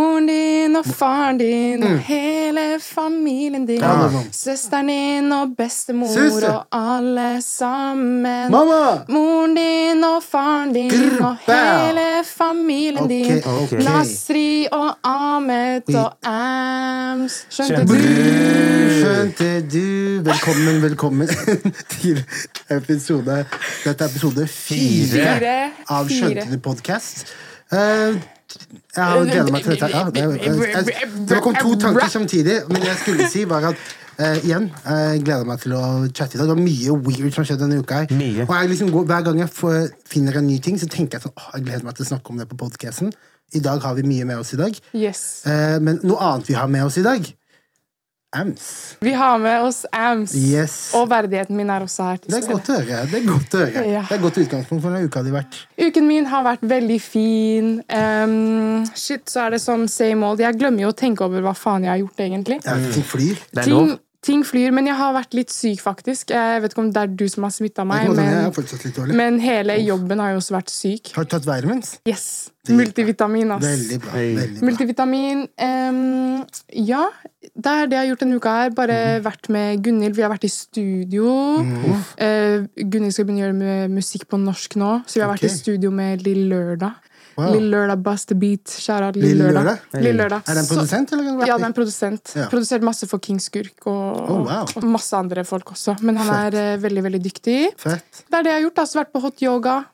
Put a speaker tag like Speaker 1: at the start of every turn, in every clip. Speaker 1: Moren din og faren din og hele familien din.
Speaker 2: Mm. Ja, det er sånn.
Speaker 1: Søsteren din og bestemor
Speaker 2: Suse.
Speaker 1: og alle sammen.
Speaker 2: Mamma!
Speaker 1: Moren din og faren din
Speaker 2: Grr,
Speaker 1: og
Speaker 2: bæ.
Speaker 1: hele familien
Speaker 2: Ok,
Speaker 1: din.
Speaker 2: ok.
Speaker 1: Nasri og Ahmed og Ams. Skjønte
Speaker 2: Skjønte
Speaker 1: du?
Speaker 2: du, skjønte du Velkommen, velkommen til episode Dette er episode fire
Speaker 1: Fire.
Speaker 2: av Skjønte
Speaker 1: Fire.
Speaker 2: du podkast. Eh, jeg har gleda meg til dette. Ja, det, jeg, det kom to tanker samtidig, men jeg skulle si var at eh, igjen, jeg gleder meg til å chatte i dag. Det var mye weird som skjedde denne uka. her.
Speaker 3: Mye.
Speaker 2: Og jeg liksom går, Hver gang jeg får, finner en ny ting, så tenker jeg sånn åh, Jeg gleder meg til å snakke om det på podkasten. I dag har vi mye med oss i dag.
Speaker 1: Yes.
Speaker 2: Eh, men noe annet vi har med oss i dag Ams.
Speaker 1: Vi har med oss Ams.
Speaker 2: Yes.
Speaker 1: Og verdigheten min er også her. til
Speaker 2: Det er
Speaker 1: stede.
Speaker 2: godt å høre. Det er godt å høre.
Speaker 1: Ja.
Speaker 2: Det er godt utgangspunkt for den uka de har vært.
Speaker 1: Uken min har vært veldig fin. Ehm, shit, så er det sånn same old. Jeg glemmer jo å tenke over hva faen jeg har gjort, egentlig.
Speaker 2: Jeg vet, ting flyr.
Speaker 3: Det er lov.
Speaker 1: Ting, ting flyr, men jeg har vært litt syk, faktisk. Jeg vet ikke om det er du som har smitta meg,
Speaker 2: Jeg kommer til å- jeg
Speaker 1: men,
Speaker 2: er fortsatt litt dårlig.
Speaker 1: men hele jobben har jo også vært syk.
Speaker 2: Har du tatt været mens?
Speaker 1: Yes. Multivitamin, ass.
Speaker 2: Veldig bra.
Speaker 3: Hei.
Speaker 2: Veldig bra.
Speaker 1: Multivitamin. ehm, ja, det er det jeg har gjort denne uka her. Bare
Speaker 2: Mhm.
Speaker 1: vært med Gunhild. Vi har vært i studio. Eh, Gunhild skal begynne å gjøre med musikk på norsk nå, så vi har vært
Speaker 2: Ok.
Speaker 1: i studio med Lill Lørdag.
Speaker 2: Wow.
Speaker 1: Lill Lørdag Bust the Beat. Shout out Lill
Speaker 2: Lill
Speaker 1: Lørdag.
Speaker 2: Lørdag?
Speaker 1: Lill Lørdag.
Speaker 2: Er det en
Speaker 1: Så-
Speaker 2: produsent, eller? kan det være?
Speaker 1: Ja, det er en produsent.
Speaker 2: Ja.
Speaker 1: Produsert masse for King Skurk og,
Speaker 2: Oh, wow.
Speaker 1: og masse andre folk også. Men han er eh, veldig, veldig dyktig.
Speaker 2: Fett.
Speaker 1: Det er det jeg har gjort. Altså vært på hot yoga.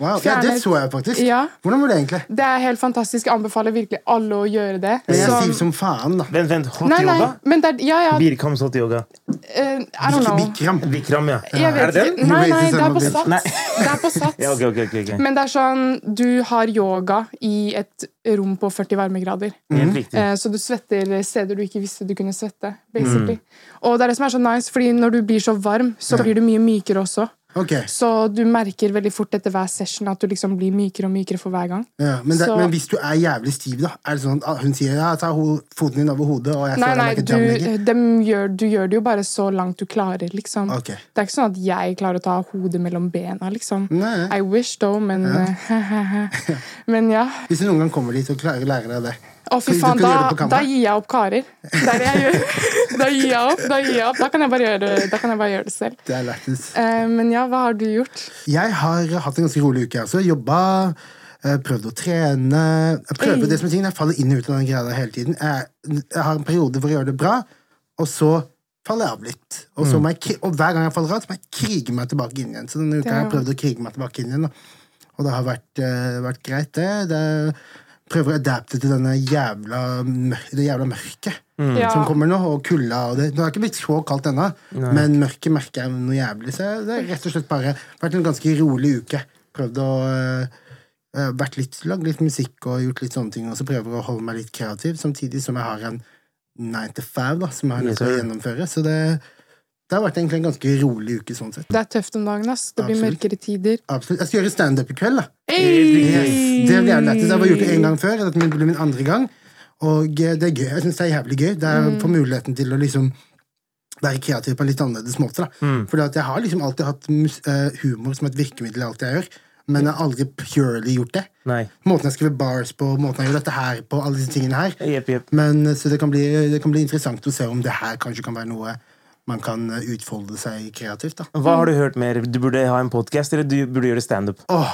Speaker 2: Wow. Ja, det
Speaker 1: Fjernet-
Speaker 2: så jeg faktisk.
Speaker 1: Ja.
Speaker 2: Hvordan var det egentlig?
Speaker 1: Det er helt fantastisk. Jeg anbefaler virkelig alle å gjøre det.
Speaker 2: Men jeg er
Speaker 1: Som-
Speaker 2: stiv som faen, da.
Speaker 3: Vent, vent. Hot
Speaker 1: Nei, nei,
Speaker 3: yoga?
Speaker 1: men det er, ja, ja,
Speaker 3: Birkams hot yoga.
Speaker 1: eh, I don't know.
Speaker 2: Bikram.
Speaker 3: Vikram, ja.
Speaker 1: Jeg
Speaker 3: Er
Speaker 1: vet
Speaker 3: det
Speaker 1: ikke.
Speaker 3: den?
Speaker 1: Nei,
Speaker 2: Raise
Speaker 1: nei, det er på
Speaker 2: yourself
Speaker 3: up. Nei.
Speaker 1: sats. Det er på sats.
Speaker 3: Ja, ok, ok, ok, ok.
Speaker 1: Men det er sånn, du har yoga i et rom på 40 varmegrader.
Speaker 3: Helt riktig.
Speaker 2: Mm.
Speaker 1: Eh, Så du svetter steder du ikke visste du kunne svette. basically. Og det er det som er så nice, fordi når du blir så varm, så blir du mye mykere også.
Speaker 2: Ok.
Speaker 1: Så du merker veldig fort etter hver session at du liksom blir mykere og mykere for hver gang.
Speaker 2: Ja, men, det,
Speaker 1: Så-
Speaker 2: men hvis du er jævlig stiv, da? Er det sånn at hun sier ja, ta ho foten din over hodet, og jeg
Speaker 1: Nei,
Speaker 2: står der
Speaker 1: nei,
Speaker 2: like
Speaker 1: du,
Speaker 2: jamlegger?
Speaker 1: dem gjør, du gjør det jo bare så langt du klarer, liksom.
Speaker 2: Ok.
Speaker 1: Det er ikke sånn at jeg klarer å ta hodet mellom bena, liksom.
Speaker 2: Nei.
Speaker 1: I wish, though, men eh, Men ja.
Speaker 2: Hvis du noen gang kommer dit og klarer å lære deg det.
Speaker 1: Å, fy
Speaker 2: Fordi du
Speaker 1: faen,
Speaker 2: kan gjøre det på
Speaker 1: da,
Speaker 2: kamera.
Speaker 1: da gir jeg opp karer. Det er det jeg gjør. Da gir jeg opp. Da gir jeg opp. Da kan jeg bare gjøre det, da kan jeg bare gjøre det selv.
Speaker 2: Det er lættis.
Speaker 1: Eh, men ja, hva har du gjort?
Speaker 2: Jeg har hatt en ganske rolig uke. jeg også. Jobba, eh, prøvd å trene. Jeg prøver det som er ting, jeg faller inn og ut av den greia der hele tiden. Jeg, jeg har en periode hvor jeg gjør det bra, og så faller jeg av litt. Og,
Speaker 1: Mm.
Speaker 2: så må jeg, kri- og hver gang jeg faller av, så må jeg krige meg tilbake inn igjen. Så denne uka
Speaker 1: er
Speaker 2: har jeg
Speaker 1: jo-
Speaker 2: prøvd å krige meg tilbake inn igjen. Da. Og det har vært, eh, vært greit, det. det prøver å adapte til denne jævla, mør- det jævla mørket
Speaker 1: Ja,
Speaker 2: Mm. som kommer nå, og kulda og det. Det har ikke blitt så kaldt ennå, men mørket merker jeg noe jævlig. Så det har rett og slett bare vært en ganske rolig uke. Prøvd å eh, eh, vært litt, lagd litt musikk og gjort litt sånne ting, og så prøver å holde meg litt kreativ, samtidig som jeg har en 9 to 5 da, som jeg er nødt til å
Speaker 3: Yes, sir.
Speaker 2: gjennomføre. Så det, det har vært egentlig en ganske rolig uke sånn sett.
Speaker 1: det er tøft om dagen. ass. Det blir
Speaker 2: Absolutt.
Speaker 1: mørkere tider.
Speaker 2: Absolutt. Jeg skal gjøre standup i kveld, da.
Speaker 1: Hey!
Speaker 2: Det blir jævlig lættis. Jeg har gjort det en gang før, og dette blir min andre gang. Og eh, det er gøy. Jeg synes det er jævlig gøy. Det er for muligheten til å liksom være kreativ på en litt annerledes måte. Da. Fordi at jeg har liksom alltid hatt mus eh, humor som et virkemiddel i alt jeg gjør, men jeg har aldri purely gjort det.
Speaker 3: Nei.
Speaker 2: Måten jeg skriver bars på, måten jeg gjør dette her på, alle disse tingene her.
Speaker 3: Jepp, jepp.
Speaker 2: Men, eh, så det kan, bli, det kan bli interessant å se om det her kanskje kan være noe man kan eh, utfolde seg kreativt. da.
Speaker 3: Hva har du hørt mer? Du burde ha en podkast, eller du burde gjøre standup?
Speaker 2: Åh,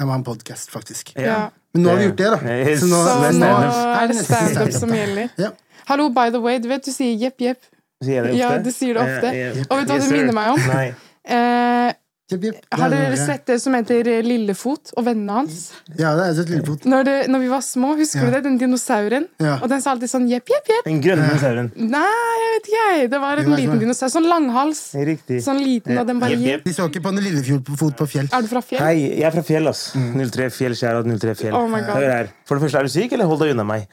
Speaker 2: jeg må ha en podkast, faktisk.
Speaker 1: Ja.
Speaker 2: Men nå har vi gjort det, da.
Speaker 3: Yes.
Speaker 2: Så nå,
Speaker 1: Så
Speaker 3: det er
Speaker 1: nå
Speaker 3: standup.
Speaker 1: er det
Speaker 2: nesten
Speaker 1: standup
Speaker 2: standup,
Speaker 1: som
Speaker 2: da.
Speaker 1: gjelder.
Speaker 2: Ja.
Speaker 1: Hallo, by the way, du vet du sier jepp, jepp.
Speaker 3: Sier jeg det ofte?
Speaker 1: Ja, du sier det ofte.
Speaker 3: Ja, ja.
Speaker 1: Og vet du hva det
Speaker 3: Yes, sir.
Speaker 1: minner meg om?
Speaker 3: Nei.
Speaker 1: Eh,
Speaker 2: Jepp, jepp.
Speaker 1: Har
Speaker 2: Det er
Speaker 1: dere
Speaker 2: det.
Speaker 1: sett det som heter eh, Lillefot og vennene hans?
Speaker 2: Ja, det er et lillefot.
Speaker 1: Når, det, når vi var små, husker
Speaker 2: Ja.
Speaker 1: du det? Den dinosauren?
Speaker 2: Ja.
Speaker 1: Og den sa alltid sånn jepp, jepp, jepp.
Speaker 3: Den grønne dinosauren.
Speaker 1: Nei, jeg vet ikke, jeg. Det var
Speaker 2: Jo,
Speaker 1: en
Speaker 2: jeg tror
Speaker 1: liten
Speaker 2: det.
Speaker 1: dinosaur. Sånn langhals.
Speaker 3: Riktig.
Speaker 1: Sånn liten, og den bare
Speaker 3: Jepp, jepp.
Speaker 1: jepp.
Speaker 2: De så ikke på en lillefot på fjell.
Speaker 1: Er du fra fjell?
Speaker 3: Hei, jeg er fra fjell, ass. 03 Fjell, skjær og 03 Fjell.
Speaker 1: Oh my God.
Speaker 3: Hør her. For det første, er du syk, eller hold deg unna meg?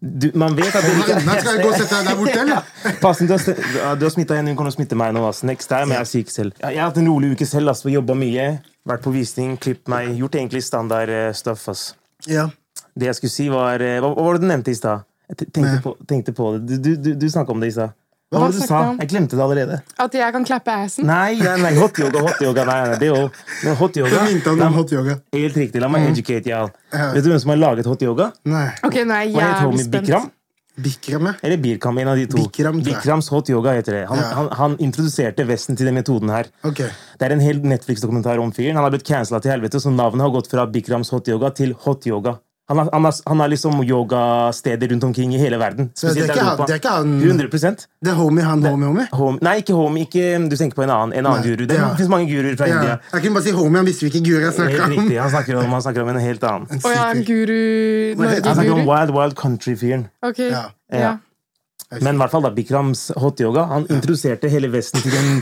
Speaker 3: Du, man vet at du
Speaker 2: Nei,
Speaker 3: ikke
Speaker 2: skal jeg gå og sette deg der borte, eller?
Speaker 3: Passen, du har, st- ja, du har smitta henne, hun kommer til å smitte meg nå. Ass. Next time, jeg er syk selv. Ja, Jeg har hatt en rolig uke selv. Ass. Jobba mye. Vært på visning, klippet meg. Gjort egentlig standard eh, stuff. Ass.
Speaker 2: Ja.
Speaker 3: Det jeg skulle si, var eh, Hva, hva var det du nevnte i stad? Jeg te- tenkte på, tenkte på det. Du, du, du, du snakka om det i stad. Hva var det
Speaker 1: snakket
Speaker 3: du sa?
Speaker 1: jeg om?
Speaker 3: Jeg glemte det allerede.
Speaker 1: At jeg kan klappe assen?
Speaker 3: Nei, nei, nei, hot yoga, hot yoga. Nei, nei, det er jo men hot yoga.
Speaker 2: Da minte han
Speaker 3: La-
Speaker 2: om hot yoga.
Speaker 3: Helt riktig. La meg educate y'all.
Speaker 2: Ja.
Speaker 3: Vet du hvem som har laget hot yoga?
Speaker 2: Nei.
Speaker 1: Ok, nå er jeg
Speaker 3: Hva het
Speaker 1: jævlig
Speaker 3: homie Bikram?
Speaker 1: spent.
Speaker 2: Bikram, ja.
Speaker 3: Eller Birkam, en av de to.
Speaker 2: Bikram, tror jeg.
Speaker 3: Bikrams hot yoga heter det. Han,
Speaker 2: Ja.
Speaker 3: han, han introduserte Vesten til den metoden her.
Speaker 2: Ok.
Speaker 3: Det er en hel Netflix-dokumentar om fyren. Han har blitt cancela til helvete, så navnet har gått fra Bikrams hot yoga til hot yoga. Han har, han har, han har liksom yogasteder rundt omkring i hele verden.
Speaker 2: Så det er
Speaker 3: Spesielt
Speaker 2: ikke han,
Speaker 3: Europa.
Speaker 2: det er ikke han
Speaker 3: 100
Speaker 2: Det er homie, han homie, homie?
Speaker 3: Home. Nei, ikke home. Ikke, mm, du tenker på en annen, en annen
Speaker 2: Nei,
Speaker 3: guru. Det
Speaker 2: ja.
Speaker 3: finnes mange guruer fra
Speaker 2: Ja.
Speaker 3: India.
Speaker 2: Jeg kunne bare si homie, han visste hvilken guru jeg snakka
Speaker 3: Helt
Speaker 2: om.
Speaker 3: riktig. Han snakker, om, han snakker om en helt annen.
Speaker 1: Å ja, en guru
Speaker 2: Hva heter
Speaker 3: Han snakker om
Speaker 1: Norge-guru?
Speaker 3: Wild Wild Country-fyren.
Speaker 1: Ok.
Speaker 2: Ja.
Speaker 1: Ja.
Speaker 3: Men i hvert fall da, Bikrams hot yoga. Han introduserte hele Vesten til den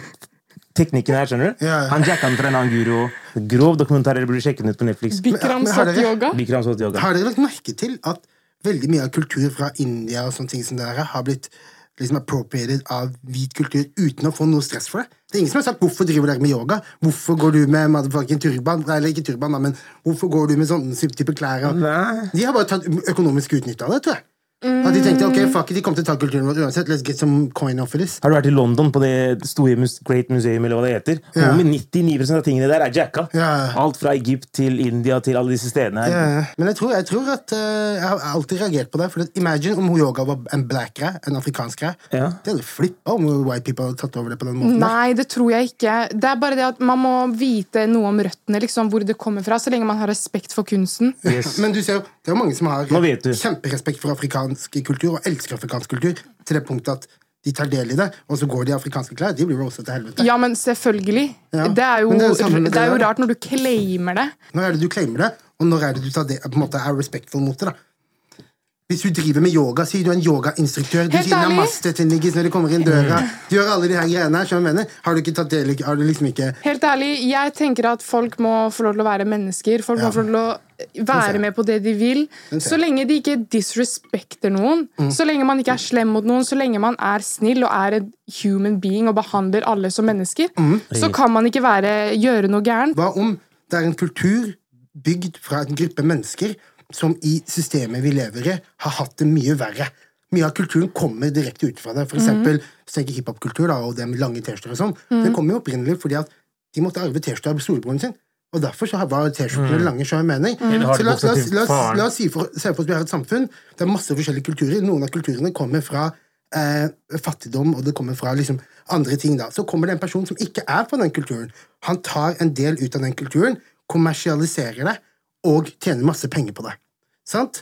Speaker 3: teknikken her, skjønner du?
Speaker 2: Ja, ja.
Speaker 3: Han jacka den fra en annen guru. og Grov dokumentar, dere burde sjekke den ut på Netflix.
Speaker 1: Bikram
Speaker 2: Men har dere-
Speaker 1: yoga?
Speaker 3: Bikrams hot yoga.
Speaker 2: Har dere lagt merke til at veldig mye av kultur fra India og sånne ting som det der har blitt liksom appropriated av hvit kultur uten å få noe stress for det? Det er ingen som har sagt 'hvorfor driver dere med yoga'? Hvorfor går du med motherfucking turban? Nei, Eller ikke turban, da, men hvorfor går du med sånne type klær? Og...
Speaker 3: Nei.
Speaker 2: De har bare tatt økonomisk utnytte av det, tror jeg. At de tenkte ok, fuck it, de kommer til å ta kulturen vår uansett, let's get some coin off of this.
Speaker 3: Har du vært i London på det store mus Great Museum, eller hva det heter?
Speaker 2: Ja.
Speaker 3: Hvor med 99 av tingene der er jacka.
Speaker 2: Ja.
Speaker 3: Alt fra Egypt til India til alle disse stedene her.
Speaker 2: Eh, Men jeg tror, jeg tror at eh, Jeg har alltid reagert på det. For at imagine om yoga var en black greie, en afrikansk greie.
Speaker 3: Ja.
Speaker 2: Det hadde flippa om white people hadde tatt over det på den måten. der.
Speaker 1: Nei, det tror jeg ikke. Det er bare det at man må vite noe om røttene, liksom, hvor det kommer fra, så lenge man har respekt for kunsten.
Speaker 3: Yes.
Speaker 2: Men du ser jo, det er jo mange som har
Speaker 3: Nå vet du.
Speaker 2: kjemperespekt for afrikansk kultur, og elsker afrikansk kultur, til det punktet at de tar del i det, og så går de i afrikanske klær. De blir rosa til helvete.
Speaker 1: Ja, men selvfølgelig.
Speaker 2: Ja.
Speaker 1: Det er jo,
Speaker 2: Men det er jo
Speaker 1: det
Speaker 2: samme
Speaker 1: er
Speaker 2: med det
Speaker 1: jo
Speaker 2: der, da.
Speaker 1: rart når du claimer det.
Speaker 2: Når er det du claimer det, og når er det du tar det, på en måte er respectful mot det? da? Hvis du driver med yoga, sier du er en yogainstruktør. Du
Speaker 1: Helt
Speaker 2: sier
Speaker 1: ærlig? Mm.
Speaker 2: namaste til niggis når de kommer inn døra. Du gjør alle de her greiene her, skjønner du hva jeg mener? Har du ikke tatt del i- Har du liksom ikke
Speaker 1: Helt ærlig, jeg tenker at folk må få lov til å være mennesker. Folk må få lov til å være med på det de vil. Så lenge de ikke disrespekter noen, så lenge man ikke er slem mot noen, så lenge man er snill og er en human being og behandler alle som mennesker, så kan man ikke være, gjøre noe gærent.
Speaker 2: Hva om det er en kultur bygd fra en gruppe mennesker som i systemet vi lever i, har hatt det mye verre? Mye av kulturen kommer direkte ut fra det. For eksempel, hvis du tenker hiphop-kultur da, og det med lange T-skjorter og sånn, det kommer jo opprinnelig fordi at de måtte arve T-skjorter av storebroren sin. Og derfor så var T-skjortene lange, så har jeg mening. Så la, oss- la, oss- la, oss- la oss si for, se for oss vi har et samfunn. Det er masse forskjellige kulturer. Noen av kulturene kommer fra eh, fattigdom, og det kommer fra liksom, andre ting. da. Så kommer det en person som ikke er fra den kulturen. Han tar en del ut av den kulturen, kommersialiserer det, og tjener masse penger på det. Sant?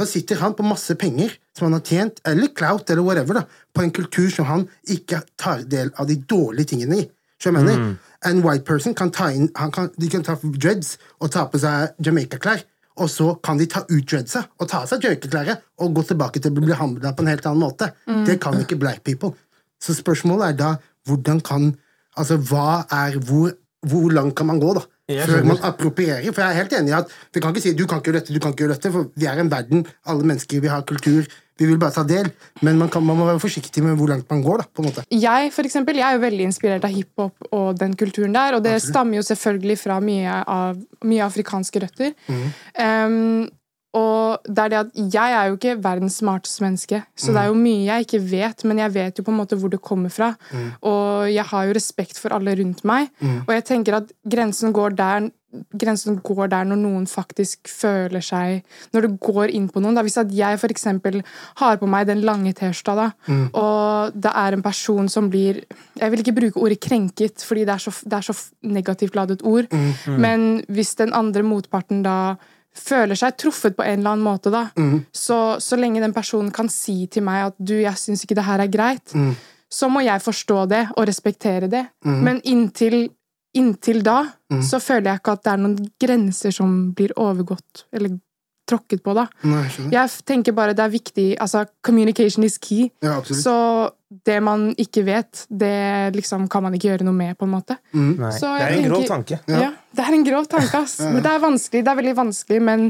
Speaker 2: Da sitter han på masse penger som han har tjent, eller clout, eller whatever, da, på en kultur som han ikke tar del av de dårlige tingene i. Skjønner du hva jeg mener?
Speaker 3: Mm.
Speaker 2: En white person kan ta inn han kan, De kan ta dreads og ta på seg Jamaica-klær, og så kan de ta ut dreadsa og ta av seg Jamaica-klærne og gå tilbake til å bli handla på en helt annen måte. Det kan ikke black people. Så spørsmålet er da hvordan kan Altså, hva er Hvor, hvor langt kan man gå, da?
Speaker 3: Jeg
Speaker 2: Før
Speaker 3: skjønner.
Speaker 2: man approprierer. For jeg er helt enig i at vi kan ikke si du kan ikke gjøre dette, du kan ikke gjøre dette, for vi er en verden, alle mennesker, vi har kultur, vi vil bare ta del. Men man, kan, man må være forsiktig med hvor langt man går, da, på en måte.
Speaker 1: Jeg for eksempel, jeg er jo veldig inspirert av hiphop og den kulturen der, og det stammer jo selvfølgelig fra mye, av, mye afrikanske røtter. Um, og det er det at jeg er jo ikke verdens smarteste menneske, så det er jo mye jeg ikke vet, men jeg vet jo på en måte hvor det kommer fra. Og jeg har jo respekt for alle rundt meg, og jeg tenker at grensen går der grensen går der når noen faktisk føler seg Når du går inn på noen. Da. Hvis at jeg for eksempel har på meg den lange T-skjorta, da, og det er en person som blir Jeg vil ikke bruke ordet krenket, fordi det er så, det er så f- negativt ladet ord. Men hvis den andre motparten da føler seg truffet på en eller annen måte, da, så, så lenge den personen kan si til meg at du, jeg syns ikke det her er greit, så må jeg forstå det og respektere det. Men inntil inntil da så føler jeg ikke at det er noen grenser som blir overgått eller tråkket på, da.
Speaker 2: Nei, jeg skjønner.
Speaker 1: Jeg f- tenker bare det er viktig Altså, communication is key.
Speaker 2: Ja, absolutt.
Speaker 1: Så det man ikke vet, det liksom kan man ikke gjøre noe med, på en måte.
Speaker 3: Nei.
Speaker 1: Så
Speaker 3: Det
Speaker 1: jeg
Speaker 3: er en grov
Speaker 1: tenker-
Speaker 3: tanke.
Speaker 1: Ja. Det er en grov tanke, ass. Men det er vanskelig, det er veldig vanskelig, men,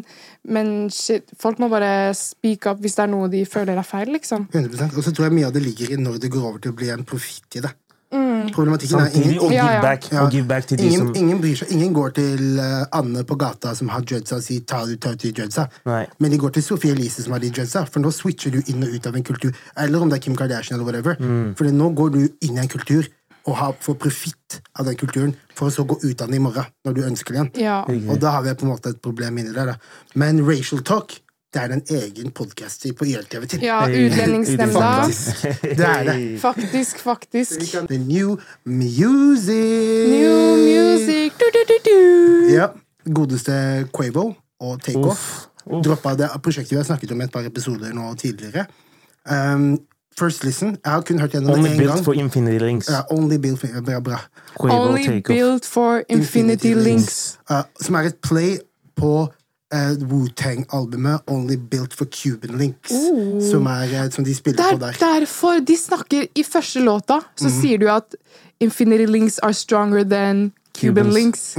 Speaker 1: men shit, folk må bare speak up hvis det er noe de føler er feil, liksom.
Speaker 2: 100 Og så tror jeg mye av det ligger i når det går over til å bli en profitt i det. Problematikken er
Speaker 3: Samtidig
Speaker 2: ingen,
Speaker 3: og
Speaker 1: Ja,
Speaker 3: give
Speaker 1: ja.
Speaker 3: back,
Speaker 2: ja,
Speaker 3: og give back til de
Speaker 2: ingen,
Speaker 3: som
Speaker 2: ingen bryr seg. Ingen går til eh, Anne på gata som har dreadsa, og sier 'tar du tar du til dreadsa'?
Speaker 3: Nei.
Speaker 2: Men de går til Sophie Elise som har de dreadsa, for nå switcher du inn og ut av en kultur. Eller om det er Kim Kardashian eller whatever.
Speaker 3: Mm.
Speaker 2: For nå går du inn i en kultur og har, får profitt av den kulturen, for å så gå ut av den i morgen, når du ønsker det igjen.
Speaker 1: Ja.
Speaker 2: Og da har vi på en måte et problem inni der. Da. Men Racial Talk det er en egen podkast på E YLTV til.
Speaker 1: ja Utlendingsnemnda.
Speaker 2: Faktisk. Det er det.
Speaker 1: Faktisk, faktisk.
Speaker 2: The new music.
Speaker 1: New music du, du, du, du.
Speaker 2: Ja. Godeste Quavo og Takeoff droppa det prosjektet vi har snakket om i et par episoder nå tidligere. Um, First Listen. Jeg har kun hørt gjennom
Speaker 3: Only
Speaker 2: det én
Speaker 3: built
Speaker 2: gang.
Speaker 3: for infinity links.
Speaker 2: Ja, only built for, bra, bra.
Speaker 3: Quavo,
Speaker 1: Only
Speaker 3: take off.
Speaker 1: built for infinity links.
Speaker 2: Uh, som er et play på uh, Wu-Tang-albumet Only Built for Cuban Links. Som, er, eh, som de
Speaker 1: Det
Speaker 2: spiller
Speaker 1: er
Speaker 2: på Mhm. der.
Speaker 1: derfor de snakker I første låta så sier du at infinity links are stronger than Cuban
Speaker 3: Cubans.
Speaker 1: links.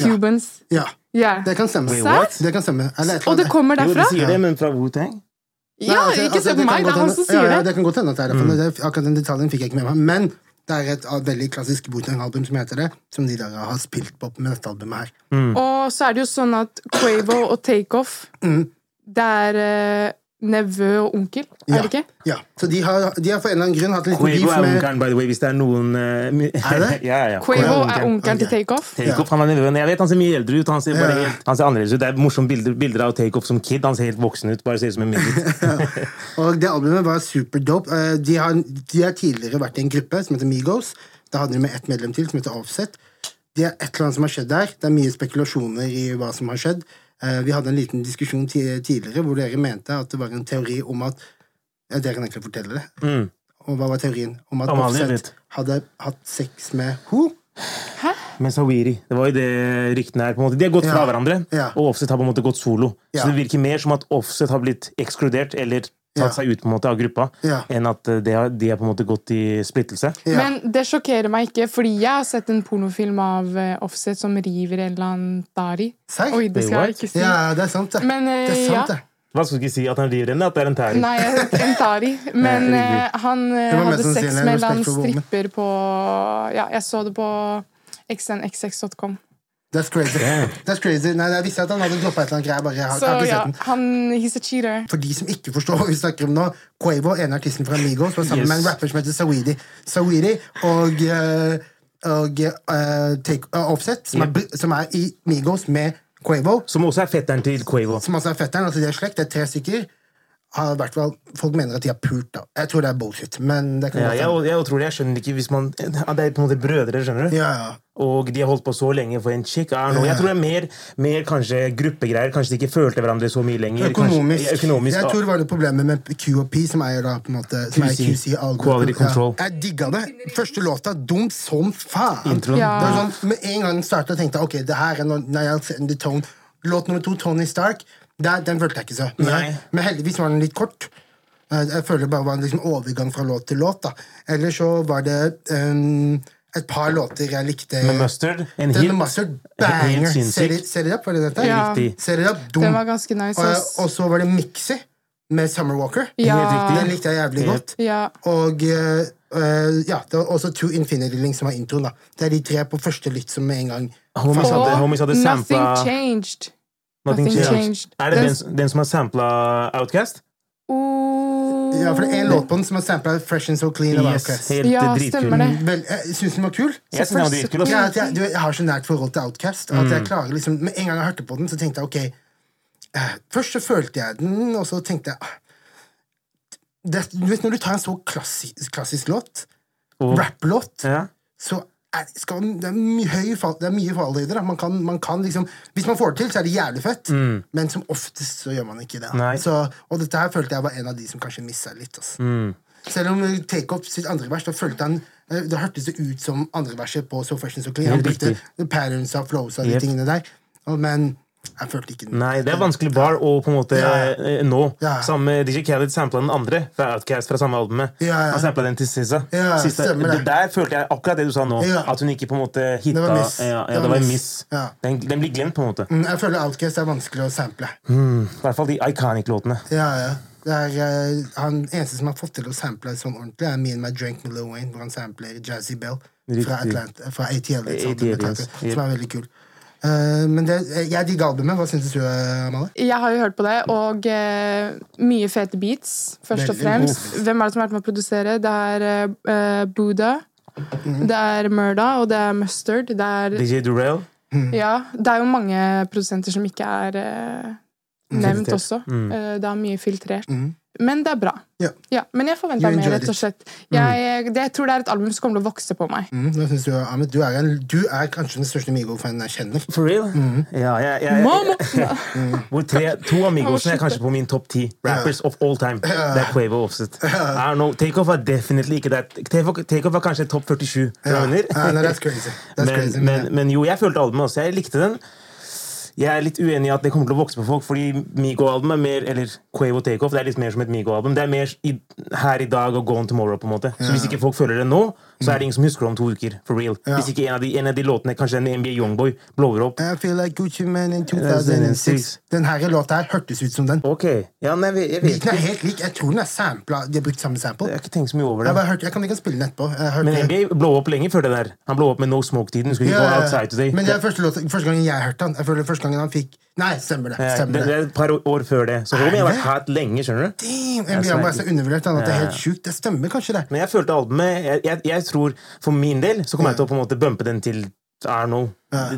Speaker 1: Cubans.
Speaker 2: Mm. Ja,
Speaker 1: Yeah.
Speaker 2: det kan stemme.
Speaker 1: Wait, what?
Speaker 2: Det kan stemme. Eller et eller
Speaker 1: Og det
Speaker 2: annet.
Speaker 1: kommer
Speaker 3: Jo, de
Speaker 1: derfra?
Speaker 3: sier det, men fra Wu-Tang?
Speaker 2: Nei,
Speaker 1: Ja,
Speaker 2: altså,
Speaker 1: ikke
Speaker 2: altså,
Speaker 1: se på
Speaker 2: det kan
Speaker 1: meg, det
Speaker 2: godt
Speaker 1: er han
Speaker 2: hende-
Speaker 1: som
Speaker 2: ja, ja,
Speaker 1: sier det.
Speaker 2: Det kan godt hende at det er derfor. Det, er- akkurat den detaljen fikk jeg ikke med meg. Men det er et ah, veldig klassisk Wu-Tang-album som heter det, som de der har spilt på med dette albumet her.
Speaker 1: Og så er det jo sånn at Quavo og Takeoff, det er eh, nevø og onkel, er det ikke?
Speaker 2: Ja, Så de har, de har for en eller annen grunn hatt en liten
Speaker 3: Quavo
Speaker 2: beef
Speaker 3: er
Speaker 2: med
Speaker 3: onkelen, by the way, hvis det er noen eh, mi-
Speaker 2: det?
Speaker 3: ja, ja.
Speaker 1: Quavo
Speaker 2: Quavo
Speaker 1: er
Speaker 2: er onkelen.
Speaker 1: onkelen til
Speaker 2: Ok.
Speaker 1: Takeoff.
Speaker 3: Takeoff, han er nevøen. Jeg vet han ser mye eldre ut. Han ser, bare,
Speaker 2: Ja.
Speaker 3: helt- han ser annerledes ut. Det er morsomme bilder, bilder av Takeoff som kid. Han ser helt voksen ut. Bare ser ut som en midget.
Speaker 2: Og det albumet var superdope. Eh, De har, de har tidligere vært i en gruppe som heter Migos. Da hadde de med ett medlem til, som heter Offset. Det er et eller annet som har skjedd der. Det er mye spekulasjoner i hva som har skjedd. Eh, Vi hadde en liten diskusjon ti- tidligere hvor dere mente at det var en teori om at ja, Dere kan egentlig fortelle det. Og hva var teorien? Om at
Speaker 3: Om han
Speaker 2: Offset
Speaker 3: levet.
Speaker 2: hadde hatt sex med ho?
Speaker 3: Men Sawiri, det var jo det ryktene er. på en måte. De har gått fra
Speaker 2: Ja.
Speaker 3: hverandre,
Speaker 2: Ja.
Speaker 3: og Offset har på en måte gått solo.
Speaker 2: Ja.
Speaker 3: Så det virker mer som at Offset har blitt ekskludert eller
Speaker 2: Ja.
Speaker 3: tatt seg ut på en måte av gruppa,
Speaker 2: Ja.
Speaker 3: enn at eh, de har, de har på en måte gått i splittelse.
Speaker 2: Ja.
Speaker 1: Men det sjokkerer meg ikke, fordi jeg har sett en pornofilm av eh, Offset som river en eller annen dari.
Speaker 2: Serr?
Speaker 1: Oi, det skal
Speaker 3: Wait,
Speaker 1: jeg ikke si.
Speaker 2: Ja, det er sant, det.
Speaker 1: Men, eh,
Speaker 2: det er sant,
Speaker 1: ja.
Speaker 2: det.
Speaker 3: Hva skulle ikke si at han river henne? At det er en tæring?
Speaker 1: Nei, en dari. Men
Speaker 3: Nei,
Speaker 1: eh, han eh,
Speaker 2: Det var mest
Speaker 1: hadde sex
Speaker 2: sannsynlig
Speaker 1: med en eller annen
Speaker 2: respekt for woman.
Speaker 1: stripper på Ja, jeg så det på xnxx.com.
Speaker 2: That's crazy. That's crazy. Nei, jeg visste at han hadde droppa et eller annet greier. Bare, jeg har,
Speaker 1: Så
Speaker 2: jeg har ikke
Speaker 1: ja,
Speaker 2: sett den.
Speaker 1: han He's a cheater.
Speaker 2: For de som ikke forstår hva vi snakker om nå, Quavo, ene artisten fra Amigos, var sammen
Speaker 3: Yes.
Speaker 2: med en rapper som heter Sawidi. Sawidi og, eh, og eh, take, eh, Offset, som, er, br- som er i Migos med Quavo,
Speaker 3: Som også er fetteren til Quavo.
Speaker 2: som altså er fetteren, altså de er slekt, det er tre stykker. Har i hvert fall, folk mener at de har pult, da. Jeg tror det er bullshit, men det kan
Speaker 3: Ja,
Speaker 2: godt
Speaker 3: jeg,
Speaker 2: hende.
Speaker 3: jeg tror det, jeg skjønner ikke hvis man ja, Det er på en måte brødre, skjønner du?
Speaker 2: Ja, ja.
Speaker 3: Og de har holdt på så lenge for en chick. Er noe. Jeg tror det er mer, mer kanskje gruppegreier. Kanskje de ikke følte hverandre så mye lenger.
Speaker 2: Økonomisk.
Speaker 3: Kanskje, ja, økonomisk
Speaker 2: Jeg tror det var det problemet med Q og P, som er da på en måte som er
Speaker 3: QC,
Speaker 2: QC
Speaker 3: quality control.
Speaker 2: Ja. Jeg digga det. Første låta, dumt som faen.
Speaker 3: Introen.
Speaker 1: Ja.
Speaker 2: Det var sånn, med en gang den starta, tenkte jeg ok, det her er no- Niall Setting the Tone. Låt nummer to, Tony Stark, der, den følte jeg ikke så.
Speaker 3: Nei.
Speaker 2: Men, men heldigvis var den litt kort. Eh, Jeg føler det bare var en liksom overgang fra låt til låt. da. Ellers så var det eh, et par låter jeg likte.
Speaker 3: Med mustard. En
Speaker 2: Den med
Speaker 3: hit.
Speaker 2: Mustard, banger.
Speaker 3: Helt sinnssykt.
Speaker 2: Ser, ser dere opp, var det dette?
Speaker 1: Ja.
Speaker 3: Riktig.
Speaker 2: Ser dere opp, dum.
Speaker 1: Den var ganske nice.
Speaker 2: Og,
Speaker 1: ass.
Speaker 2: og så var det Mixi med Summer Walker.
Speaker 1: Ja.
Speaker 3: riktig.
Speaker 2: Den likte jeg jævlig
Speaker 3: Ja.
Speaker 2: godt.
Speaker 1: ja.
Speaker 2: Og eh, eh, ja, det var også To Infinity Link som var introen. da Det er de tre på første lytt som med en gang
Speaker 3: Homies
Speaker 1: Og
Speaker 3: hadde, homies hadde sampla
Speaker 1: Nothing Changed.
Speaker 3: Nothing
Speaker 1: Nothing
Speaker 3: Changed.
Speaker 1: Changed.
Speaker 3: Er det
Speaker 1: Den-
Speaker 3: den, s- den som har sampla Outcast?
Speaker 1: Oh.
Speaker 2: Ja, for det er en låt på den som er sampla Fresh and So Clean. av
Speaker 3: Yes,
Speaker 2: Outkast.
Speaker 3: helt
Speaker 1: Ja,
Speaker 3: eh, dritkul.
Speaker 1: stemmer det.
Speaker 2: Vel, jeg syns den var kul.
Speaker 3: Jeg synes den var dritkul. altså.
Speaker 2: Ja,
Speaker 3: ass.
Speaker 2: at jeg, du, jeg har så nært forhold til Outcast. At jeg klarer liksom, Med en gang jeg hørte på den, så tenkte jeg ok eh, Først så følte jeg den, og så tenkte jeg ah, det, Du vet Når du tar en så klassisk, klassisk låt,
Speaker 3: Og-
Speaker 2: rapplåt,
Speaker 3: Ja.
Speaker 2: så er, skal, det er mye, høy fall, det er mye fallhøyde. da. Man kan, man kan liksom, hvis man får det til, så er det jævlig fett, men som oftest så gjør man ikke det. da.
Speaker 3: Mm. Nei. Mm.
Speaker 2: Så, og dette her følte jeg var en av de som kanskje missa litt. Altså. Selv om eh, Take Off sitt andre vers, da følte han eh, Det hørtes det ut som andre verset på So Fresh and So Clean. Han
Speaker 3: Helt
Speaker 2: brukte
Speaker 3: riktig.
Speaker 2: patterns av flows og de
Speaker 3: Yep.
Speaker 2: tingene der. Og- Men jeg følte ikke den.
Speaker 3: Nei, det er vanskelig bar å på en måte
Speaker 2: Ja.
Speaker 3: eh, nå.
Speaker 2: Ja.
Speaker 3: Samme DJ Khaled sampla den andre fra Outcast fra samme albumet.
Speaker 2: Ja, ja.
Speaker 3: Han sampla den til SZA.
Speaker 2: Ja,
Speaker 3: Siste-
Speaker 2: stemmer det.
Speaker 3: det der følte jeg akkurat det du sa nå.
Speaker 2: Ja.
Speaker 3: At hun ikke på en måte hitta
Speaker 2: Det var miss.
Speaker 3: Ja, ja, det var en miss.
Speaker 2: Ja.
Speaker 3: Den, den blir glemt, på en måte.
Speaker 2: Mm, Jeg føler Outcast er vanskelig å sample.
Speaker 3: I hvert fall de iconic-låtene.
Speaker 2: Ja, ja. Det er, eh, han eneste som har fått til å sample sånn ordentlig, er Me and My Drink med Lil Wayne, hvor han sampler Jazzy Bell fra,
Speaker 3: Riktig.
Speaker 2: Atlanta, fra ATL, liksom,
Speaker 3: ATL, yes.
Speaker 2: som er veldig kul. Eh, men det, jeg digger albumet. Hva syns du, eh, Amalie?
Speaker 1: Jeg har jo hørt på det, og eh, mye fete beats, først og
Speaker 2: Veldig
Speaker 1: fremst. Hvem er det som har vært med å produsere? Det er eh, Buddha, det er Murda, og det er Mustard. Det er,
Speaker 3: DJ Durell.
Speaker 1: ja, det er jo mange produsenter som ikke er eh, nevnt
Speaker 3: Filtrert.
Speaker 1: også. Eh, det er mye filtrert.
Speaker 2: Mhm.
Speaker 1: Men det er bra.
Speaker 2: Ja.
Speaker 1: Ja, men jeg forventa
Speaker 2: You
Speaker 1: mer,
Speaker 2: enjoyed
Speaker 1: rett og
Speaker 2: it.
Speaker 1: slett. Jeg, det, jeg tror det er et album som kommer til å vokse på meg.
Speaker 2: Mm, hva synes du, Ahmed? Du er, en, du er kanskje den største Migo-fanen jeg kjenner.
Speaker 3: For real?
Speaker 2: Mm.
Speaker 3: Ja, jeg, jeg,
Speaker 1: Mamma!
Speaker 3: Hvor tre, to
Speaker 1: Å,
Speaker 3: Amigosene er kanskje på min topp ti. Rappers of all time. Det er Quavo og Offset. I don't know, Takeoff er definitely ikke der. Takeoff Takeoff er kanskje topp 47.
Speaker 2: Ja.
Speaker 3: Ja.
Speaker 2: Ja, no, that's crazy. That's
Speaker 3: men,
Speaker 2: crazy, men
Speaker 3: men,
Speaker 2: ja.
Speaker 3: men jo, jeg følte albumet også. Jeg likte den. Jeg er litt uenig i at det kommer til å vokse på folk, fordi Migo-albumet er mer eller Quavo Takeoff, det er litt mer som et Migo-album. Det er mer i, her i dag og gone tomorrow. på en måte. Så Hvis ikke folk føler det nå, så er det ingen som husker det om to uker. for real.
Speaker 2: Mm. Ja.
Speaker 3: Hvis ikke en av de, en av de låtene, kanskje en NBA Youngboy, blower opp.
Speaker 2: I feel like Gucci Man in 2006. Den her låta her hørtes ut som den.
Speaker 3: Ok, ja, nei, jeg, jeg
Speaker 2: Den
Speaker 3: vet ikke.
Speaker 2: er helt lik. Jeg tror den er sampla. De har brukt samme sample.
Speaker 3: Jeg
Speaker 2: Jeg,
Speaker 3: har ikke tenkt så mye over det.
Speaker 2: bare hørte, jeg kan ikke spille den etterpå. Jeg hørte-
Speaker 3: Men NBA blow opp lenge før det der. Han blow opp med No Smoke-tiden. Skulle ikke
Speaker 2: Ja,
Speaker 3: gå
Speaker 2: ja,
Speaker 3: outside
Speaker 2: ja.
Speaker 3: today.
Speaker 2: Men det er første, låta, første gangen jeg hørte han. Jeg føler første gangen han fikk Nei, stemmer det.
Speaker 3: Ja,
Speaker 2: Stemmer
Speaker 3: det, det
Speaker 2: det.
Speaker 3: er et par år før det. Så Romy har
Speaker 2: det?
Speaker 3: vært hat lenge, skjønner du.
Speaker 2: Damn,
Speaker 3: Jeg
Speaker 2: NBA var så
Speaker 3: sverger.
Speaker 2: undervurdert han, at det er
Speaker 3: Ja,
Speaker 2: helt sjukt. Det stemmer kanskje, det.
Speaker 3: Men jeg følte albumet jeg, jeg, jeg tror For min del så kommer jeg til å på en måte bumpe den til I don't know.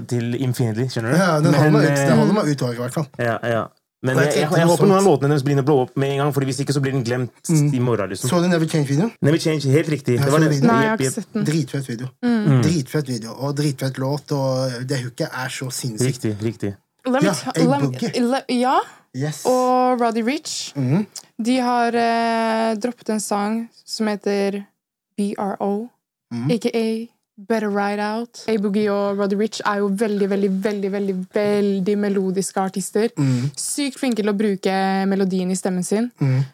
Speaker 3: Til Infinity, skjønner du.
Speaker 2: Ja, den holder meg ut,
Speaker 3: eh,
Speaker 2: den holder meg ut året, i hvert fall.
Speaker 3: ja, ja. Men
Speaker 2: Og
Speaker 3: jeg,
Speaker 2: jeg
Speaker 3: jeg, jeg,
Speaker 2: tenkte noe
Speaker 3: håper noen av
Speaker 2: sånt.
Speaker 3: låtene deres blir å blow opp med en gang, Fordi hvis ikke så blir den glemt i morgen. liksom
Speaker 2: Mm. Så du Never Change-videoen?
Speaker 3: Never Change, helt riktig.
Speaker 2: Jeg
Speaker 3: Det var
Speaker 2: så
Speaker 3: det.
Speaker 2: videoen.
Speaker 1: Nei, jeg har
Speaker 3: Jepp,
Speaker 1: ikke
Speaker 3: jepp.
Speaker 1: sett den.
Speaker 2: Dritfett video.
Speaker 1: Mm.
Speaker 3: Mm.
Speaker 2: Dritfett video, og dritfett låt, og det hooket er så sinnssykt.
Speaker 3: Riktig. riktig
Speaker 1: Let me
Speaker 2: Ja,
Speaker 1: ta-
Speaker 2: Egg
Speaker 1: let me-
Speaker 2: Boogie. Mm-hmm.
Speaker 1: le- ja,
Speaker 2: Yes.
Speaker 1: og Roddy Rich. De har eh, droppet en sang som heter BRO,
Speaker 2: Mm-hmm.
Speaker 1: aka Better Ride Out. A Boogie og Roddy Rich er jo veldig, veldig, veldig veldig, veldig melodiske artister.
Speaker 2: Mm-hmm.
Speaker 1: Sykt flinke til å bruke melodien i stemmen sin.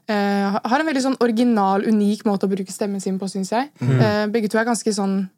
Speaker 1: Eh, ha- har en veldig sånn original, unik måte å bruke stemmen sin på, syns jeg.
Speaker 2: Mm-hmm.
Speaker 1: Eh, begge to er ganske sånn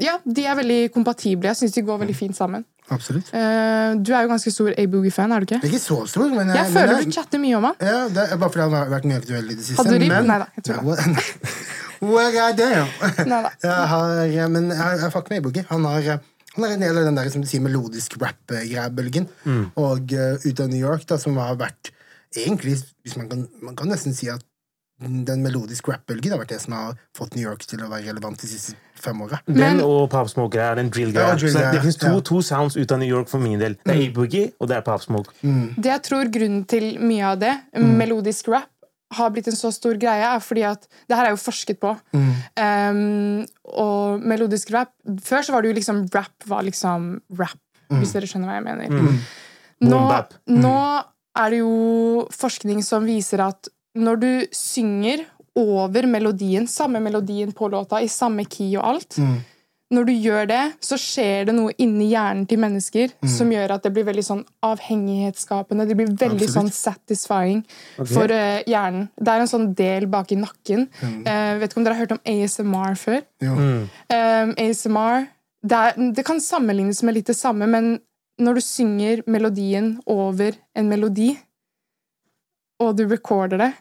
Speaker 1: Ja, de er veldig kompatible. Jeg syns de går
Speaker 2: Mm.
Speaker 1: veldig fint sammen.
Speaker 2: Absolutt.
Speaker 1: Eh, du er jo ganske stor A-Boogie-fan, er du ikke?
Speaker 2: Det er ikke så stor, men eh,
Speaker 1: Jeg
Speaker 2: men
Speaker 1: føler
Speaker 2: det-
Speaker 1: du chatter mye om han.
Speaker 2: Ja, det er bare fordi han har vært mye aktuell i det siste.
Speaker 1: Hadde du ribb?
Speaker 2: men-
Speaker 1: Neida, jeg tror det.
Speaker 2: What- What I damn?
Speaker 1: Neida.
Speaker 2: Jeg har, eh, men jeg, jeg fucker med Boogie. Han har eh, han er en del av den der, som du sier, melodisk rap-greia-bølgen. Og eh, ut av New York, da, som har vært egentlig, hvis man kan, man kan nesten si at den melodisk rap-bølgen har vært det som har fått New York til å være relevant de siste fem åra.
Speaker 3: Den
Speaker 1: Men-
Speaker 3: og Pop Smoke er den drill-greia.
Speaker 2: Ja, drill-greia,
Speaker 3: Så det finnes to,
Speaker 2: ja. Mm.
Speaker 3: to sounds ut av New York for min del. Det er A-Boogie, og det er Pop Smoke.
Speaker 1: Det jeg tror grunnen til mye av det, melodisk rap, har blitt en så stor greie, er fordi at det her er jo forsket på. Um, og melodisk rap Før så var det jo liksom rap var liksom rap, hvis dere skjønner hva jeg mener. Nå,
Speaker 3: Boom bap.
Speaker 1: nå er det jo forskning som viser at når du synger over melodien, samme melodien på låta, i samme key og alt Når du gjør det, så skjer det noe inni hjernen til mennesker som gjør at det blir veldig sånn avhengighetsskapende. Det blir veldig sånn satisfying for eh, hjernen. Det er en sånn del bak i nakken. Eh, vet ikke om dere har hørt om ASMR før?
Speaker 2: Mm.
Speaker 3: Mm.
Speaker 1: Um, ASMR det, er, det kan sammenlignes med litt det samme, men når du synger melodien over en melodi, og du recorder det,